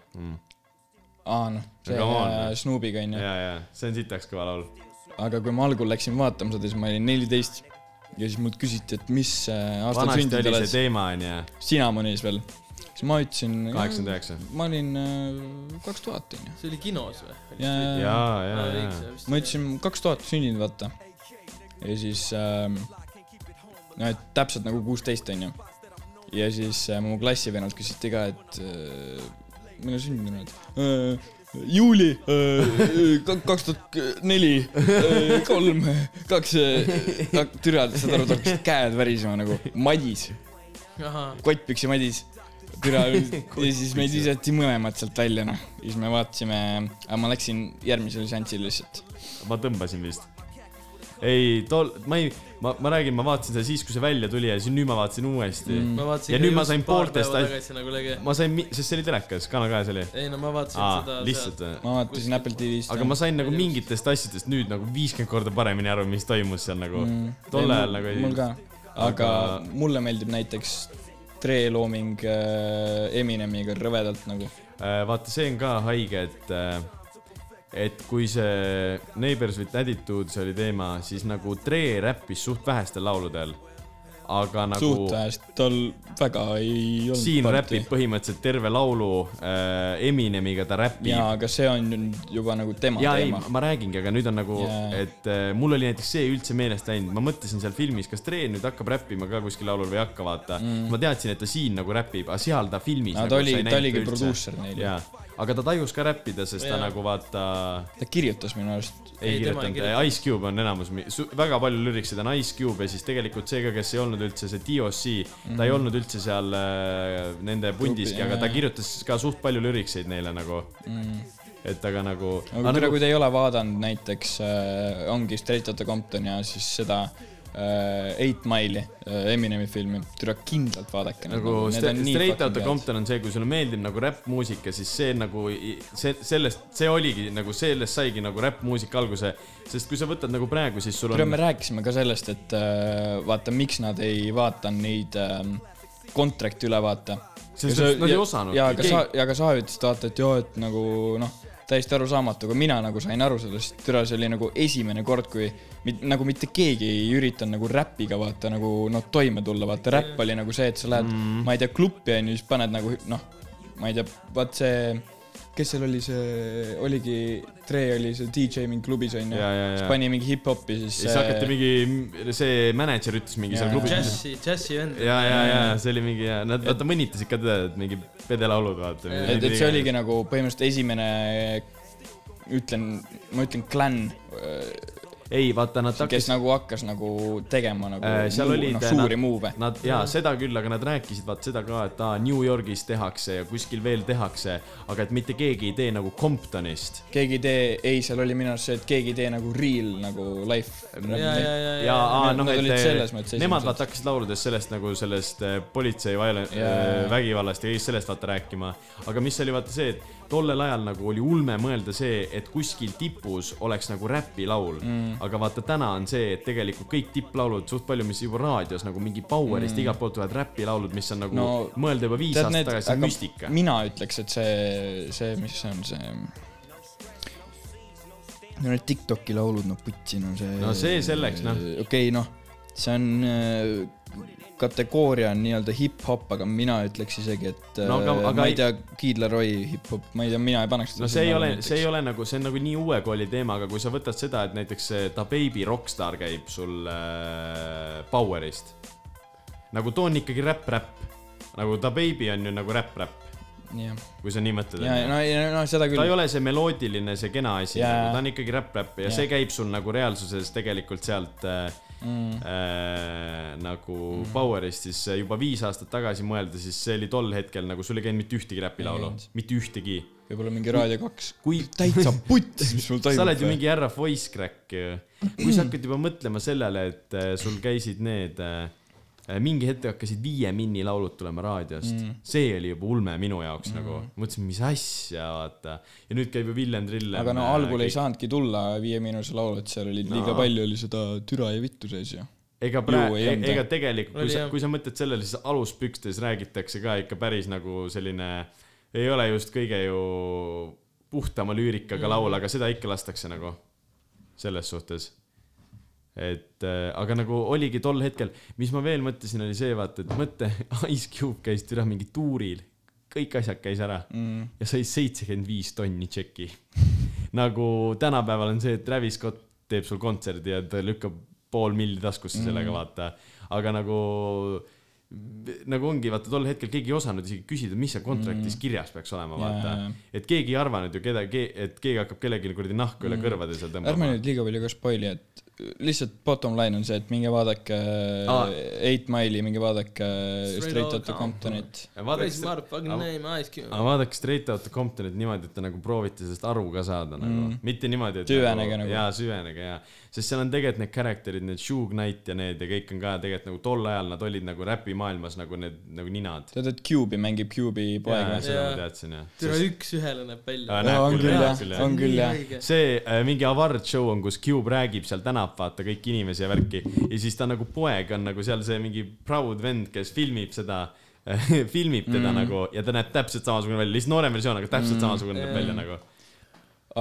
S1: aa noh , see
S3: Come on.
S1: äh, Snoopiga onju .
S3: ja , ja see on sitaks kõva laul .
S1: aga kui ma algul läksin vaatama seda , siis ma olin neliteist ja siis mult küsiti , et mis äh, aastal
S3: vanasti
S1: sündinud
S3: oli see
S1: oled ,
S3: teema on ju ,
S1: sina Monis veel . siis ma ütlesin ,
S3: kaheksakümmend üheksa .
S1: ma olin äh, kaks tuhat onju .
S2: see oli kinos või ?
S1: ja
S3: ja , ja , ja .
S1: ma . ütlesin kaks tuhat sündinud vaata . ja siis ähm, , no et täpselt nagu kuusteist onju . ja siis äh, mu klassivennalt küsiti ka , et äh, millal sündinud oled äh, ? juuli äh, kaks tuhat neli , kolm , kaks , türa , saad aru , tal hakkasid käed värisema nagu , Madis ,
S2: ahah ,
S3: Mm.
S1: kottpüksi Madis . türa ja siis meid visati mõlemad sealt välja noh , siis me vaatasime , aga ma läksin järgmisele seansile lihtsalt .
S3: ma tõmbasin vist . ei , tol , ma ei , ma , ma räägin , ma vaatasin seda siis , kui see välja tuli ja siis nüüd ma vaatasin uuesti mm. .
S2: ma vaatasin .
S3: Ja nüüd ma sain poolteist as-
S2: tagasi nagu lege .
S3: ma sain , sest see oli telekas , Kanal kahes oli .
S2: ei no ma vaatasin
S3: aa
S2: seda ,.
S3: lihtsalt või ?
S1: ma vaatasin
S2: Kuskilt-
S1: Apple TV-st .
S3: aga ma sain nagu mingitest asjadest nüüd nagu viiskümmend korda paremini aru , mis toimus seal nagu mm. . tol ajal nagu
S1: ei .
S3: ei .
S1: mul ka , aga
S3: Aga-
S1: mulle meeldib näiteks Tre looming äh, Eminemiga rõvedalt nagu .
S3: Äh, vaata , see on ka haige , et äh, et kui see Neighbors with Attitude , see oli teema , siis nagu Tre räppis suht vähestel lauludel . aga nagu
S1: suht hästi , tal väga ei olnud .
S3: siin räpib . põhimõtteliselt terve laulu äh, Eminemiga ta räpib .
S1: jaa , aga see on ju nüüd juba nagu tema
S3: ja ei
S1: teema ,.
S3: ma räägingi , aga nüüd on nagu yeah.
S1: Jaa. ,
S3: et äh, mul oli näiteks see üldse meelest läinud , ma mõtlesin seal filmis , kas Tre nüüd hakkab räppima ka kuskil laulul või ei hakka , vaata mm. . ma teadsin , et ta siin nagu räpib , aga seal ta filmis . nagu
S1: no ta oli , ta oligi produusser neil .
S3: jaa , aga ta tajus ka räppida , sest yeah. ta
S2: Jaa.
S3: nagu vaata
S1: ta kirjutas minu arust .
S3: ei
S2: Ei, tema ei
S3: kirjutanud , Ice Cube on enamus , väga palju lürikseid on Ice Cube ja siis tegelikult see ka , kes ei olnud üldse see DOC mm , -hmm. ta ei olnud üldse seal äh, nende pundiski ,
S1: jaa,
S3: aga ta
S1: Mhm. jaa.
S3: kirjutas ka suht palju lürikseid neile nagu
S1: Mm.
S3: et aga nagu ,
S1: aga tere , kui te ei ole vaadanud näiteks äh, , ongi Straight Outta Compton ja siis seda äh, Eight Mile'i äh, Eminemi filmi , tere kindlalt vaadake .
S3: nagu stra- Straight Outta Compton on see , kui sulle meeldib nagu räppmuusika , siis see nagu , see , sellest , see oligi nagu , sellest saigi nagu räppmuusika alguse . sest kui sa võtad nagu praegu , siis sul
S1: kuule , me
S3: on ,
S1: rääkisime ka sellest , et äh, vaata , miks nad ei vaata neid ähm, kontrakte üle , vaata .
S3: Sest nad ei osanud.
S1: ja ka
S3: Keegi-
S1: sa , ja ka sa ütlesid , vaata , et joo , et nagu noh , täiesti arusaamatu , aga mina nagu sain aru sellest , türa , see oli nagu esimene kord , kui mit, nagu mitte keegi ei üritanud nagu räpiga vaata nagu noh , toime tulla , vaata räpp oli nagu see , et sa lähed mm. ,
S3: Mhm.
S1: ma ei tea , klubbi on ju , siis paned nagu noh , ma ei tea , vaat see , kes seal oli see , oligi , Tre oli see DJ mingi klubis on
S3: Jaa,
S1: ju
S3: jaa, , jaa.
S1: siis pani mingi hip-hopi , siis
S3: siis hakati mingi , see mänedžer ütles mingi seal
S1: Jaa.
S3: klubis .
S2: džässi , džässi vend .
S3: ja , ja , ja see oli mingi , nad vaata mõnitasid ka teda , et mingi pedelaulud vaata .
S1: et , et see oligi . nagu põhimõtteliselt esimene , ütlen , ma ütlen klann ,
S3: ei , vaata nad
S1: kes
S3: hakkasid ,
S1: nagu hakkas nagu tegema nagu
S3: Äh, seal
S1: muu-
S3: olid,
S1: noh,
S3: äh,
S1: suuri move'e .
S3: nad ja seda küll , aga nad rääkisid vaata seda ka , et aa , New Yorgis tehakse ja kuskil veel tehakse , aga et mitte keegi ei tee nagu Comptonist
S1: keegi ei tee , ei , seal oli minu arust see , et keegi ei tee nagu real nagu life .
S2: ja , ja , ja ,
S3: ja
S2: ja .
S3: aa,
S1: Nad-
S3: noh ,
S1: nad olid selles mõttes
S3: et nemad
S1: esimesed.
S3: vaata hakkasid lauludes sellest nagu sellest eh, politsei violen- ,
S1: Jaa.
S3: vägivallast ja kõigest sellest vaata rääkima . aga mis oli vaata see , et tollel ajal nagu oli ulme mõelda see , et kuskil tipus oleks nagu räpilaul mm. . aga vaata täna on see , et tegelikult kõik tipplaulud suht palju , mis juba raadios nagu mingi Powerist mm. igalt poolt tulevad räpilaulud , mis on nagu no,
S1: No,
S3: mõelda juba viis aastat tagasi müstika .
S1: mina ütleks , et see , see , mis see on , see . no need Tiktoki laulud , no putsi , no see .
S3: No see selleks, noh.
S1: okei okay, , noh , see on äh, kategooria on nii-öelda hip-hop , aga mina ütleks isegi , et
S3: No
S1: no,
S3: aga-
S1: aga,
S3: aga
S1: aga ma
S3: ei-
S1: ei tea , Kid Laroi hip-hop , ma ei tea , mina ei paneks
S3: no see ei ole , see ei ole nagu , see on nagu nii uue kooli teema , aga kui sa võtad seda , et näiteks see Da Baby Rockstar käib sul äh, Powerist . nagu too on ikkagi räpp-räpp . nagu Da Baby on ju nagu räpp-räpp ,
S1: ole . jah ,
S3: kui sa nii mõtled .
S1: ja
S3: ta
S1: no , no seda küll
S3: ei . ole see meloodiline , see kena asi
S1: Jaa.
S3: yeah. , nagu, ta on ikkagi räpp-räpp ja yeah.
S1: Jah.
S3: see käib sul nagu reaalsuses tegelikult sealt äh,
S1: Mm.
S3: Äh, nagu
S1: Mhm.
S3: mm. Powerist , siis äh, juba viis aastat tagasi mõelda , siis see oli tol hetkel nagu sul ei käinud mitte ühtegi räpilaulu
S1: käinud. ,
S3: mitte ühtegi .
S1: võib-olla mingi Raadio kaks .
S3: kui
S1: täitsa putsi , mis sul toimub .
S3: sa oled ju mingi härra voice crack ju . kui sa hakkad juba mõtlema sellele , et äh, sul käisid need äh, mingi hetk hakkasid Viie Minni laulud tulema raadiost mm.
S1: Mm. .
S3: see oli juba ulme minu jaoks mm. nagu , mõtlesin , mis asja , vaata . ja nüüd käib ju äh, Villem Trillem .
S1: aga no algul ei . saanudki tulla Viie Miinuse laulu , et seal oli liiga
S3: No.
S1: palju oli seda türa ja vittu sees ju .
S3: ega
S1: Ju
S3: praegu ,
S1: ei olnud,
S3: ega
S1: jah.
S3: tegelikult , kui
S2: Oli
S3: sa
S2: jah. ,
S3: kui sa mõtled sellele , siis aluspükstes räägitakse ka ikka päris nagu selline , ei ole just kõige ju puhtama lüürikaga mm. laul , aga seda ikka lastakse nagu selles suhtes . et äh, aga nagu oligi tol hetkel , mis ma veel mõtlesin , oli see vaata , et mõtle , Ice Cube käis türa mingi tuuril , kõik asjad käis ära
S1: Mm.
S3: ja sai seitsekümmend viis tonni tšeki . nagu tänapäeval on see , et Travis Scott teeb sul kontserdi ja ta lükkab pool milli taskusse
S1: Mhm.
S3: sellega mm. , vaata . aga nagu , nagu ongi , vaata tol hetkel keegi ei osanud isegi küsida , mis seal
S1: Mhm.
S3: kontraktis mm. kirjas peaks olema , vaata
S1: Jajah.
S3: yeah. . et keegi ei arvanud ju kedagi , et keegi hakkab kellelegi kuradi nahku üle kõrvade seal
S1: Mhm. ärme
S3: tõmbama .
S1: nüüd liiga palju ka spoil'i , et lihtsalt bottom line on see , et minge vaadake
S3: Aa.
S1: Eight Mile'i , minge vaadake
S2: Straight
S1: Straight
S2: Outta
S1: Outta Comptonit .
S2: Praise
S3: vaadake ,
S2: motherfucking
S3: aga-
S2: name , Ice Cube .
S3: aga vaadake Straight Outta Comptonit niimoodi , et te nagu proovite sellest aru ka saada nagu mm. , mitte niimoodi , et
S1: Süvenege nagu.
S3: jaa , süvenege jaa . sest seal on tegelikult need character'id , need Shug Knight ja need ja kõik on ka tegelikult nagu tol ajal nad olid nagu räpimaailmas nagu need nagu ninad .
S1: tead , et Cube'i mängib Cube'i
S3: jaa ,
S1: poega .
S3: seda ma
S2: Jaa.
S3: teadsin jah .
S2: türa üks-ühele näeb välja
S3: Aa, .
S1: Jaa,
S3: näeb
S1: on
S3: küll,
S1: küll
S3: näeb
S1: jah
S3: küll, ,
S1: on küll jah .
S3: see äh, mingi avard show on , kus Cube räägib seal , tänab vaata kõiki inimesi ja värki ja siis ta nagu poeg on nagu seal see mingi proud vend , kes filmib seda filmib teda mm. nagu ja ta näeb täpselt samasugune välja , lihtsalt noorem versioon , aga täpselt mm. samasugune näeb
S2: Jaa.
S3: välja nagu .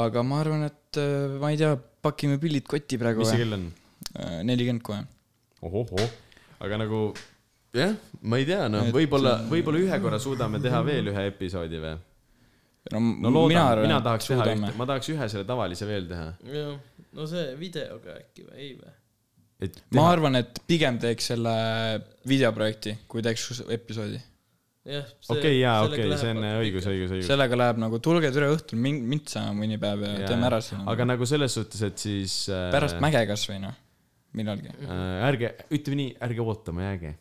S1: aga ma arvan , et äh, ma ei tea , pakime pillid kotti praegu
S3: mis see
S1: või ?
S3: kell on ?
S1: nelikümmend kohe .
S3: ohohoo , aga nagu jah , ma ei tea , noh ,
S1: Et-
S3: võib-olla , võib-olla ühe korra suudame teha veel ühe episoodi või ?
S1: no
S3: no
S1: m- mina
S3: loodan , mina
S1: arvan , et
S3: tahaks teha
S1: suudame
S3: ühte ,. ma tahaks ühe selle tavalise veel teha .
S2: jah , no see videoga äkki või , ei või ?
S3: et
S1: ma
S3: teha ,
S1: arvan , et pigem teeks selle videoprojekti , kui teeks us- episoodi .
S2: jah .
S3: okei , jaa , okei , see on õigus , õigus , õigus .
S1: sellega läheb nagu , tulge türa õhtul mind , mind saama mõni päev ja
S3: Jaa.
S1: teeme ära selle .
S3: aga nagu selles suhtes , et siis äh,
S1: pärast mäge kasvõi noh , millalgi .
S3: äh, ärge , ütleme nii , ärge ootama jääge .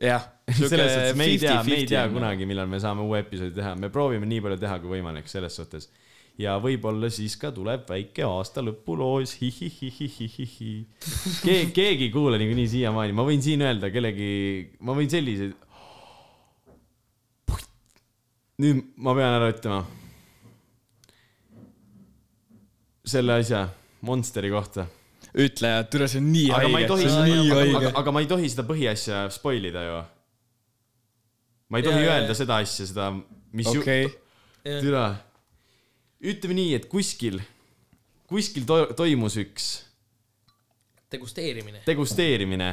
S1: jah .
S3: selles suhtes , me ei tea , me ei tea
S1: noh.
S3: kunagi , millal me saame uue episoodi teha , me proovime nii palju teha kui võimalik selles suhtes . ja võib-olla siis ka tuleb väike aasta lõpuloos , hihihihihihihi . keegi , keegi ei kuule niikuinii siiamaani , ma võin siin öelda kellegi , ma võin selliseid . nüüd ma pean ära ütlema . selle asja , Monsteri kohta .
S1: ütle , et türa , see on nii
S3: aga ma ei
S1: haige ,
S3: tohi
S1: see on , nii
S3: aga,
S1: haige .
S3: aga ma ei tohi seda põhiasja spoil ida ju . ma ei tohi
S2: Jaa,
S3: ja,
S2: jaa,
S3: öelda
S2: jaa.
S3: seda asja , seda , mis ju-
S1: okei ,
S2: õigus .
S3: türa , ütleme nii , et kuskil , kuskil to toimus üks
S2: degusteerimine .
S3: degusteerimine .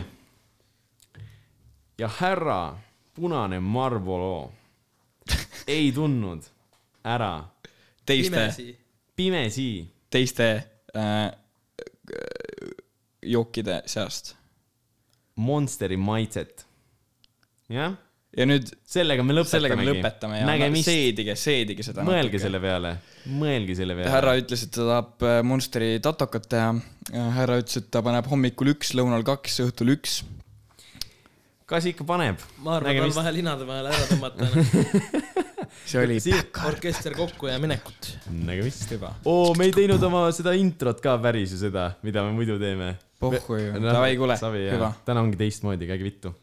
S3: ja härra punane Marlboro ei tundnud ära
S1: teiste ,
S2: pimesi .
S3: pimesi
S1: teiste äh, jookide seast .
S3: Monsteri maitset . jah ,
S1: ja nüüd
S3: sellega me lõpetamegi .
S1: sellega me lõpetame ja
S3: nägemist ,
S1: seedige , seedige seda .
S3: mõelge . selle peale , mõelge selle peale .
S1: härra ütles , et ta tahab äh, Monsteri tatokat teha . härra ütles , et ta paneb hommikul üks , lõunal kaks , õhtul üks .
S3: kas ikka paneb ?
S2: ma arvan , et on vaja linade vahel ära tõmmata noh,
S1: see oli
S2: orkester kokku ja minekut .
S3: nägemist .
S1: juba .
S3: oo , Nagu me ei teinud oma seda introt ka päris ju seda , mida me muidu teeme .
S1: Pohhu ju. Davai, kuule,
S3: savi ja
S1: hüva.
S3: täna ongi teistmoodi , käige vittu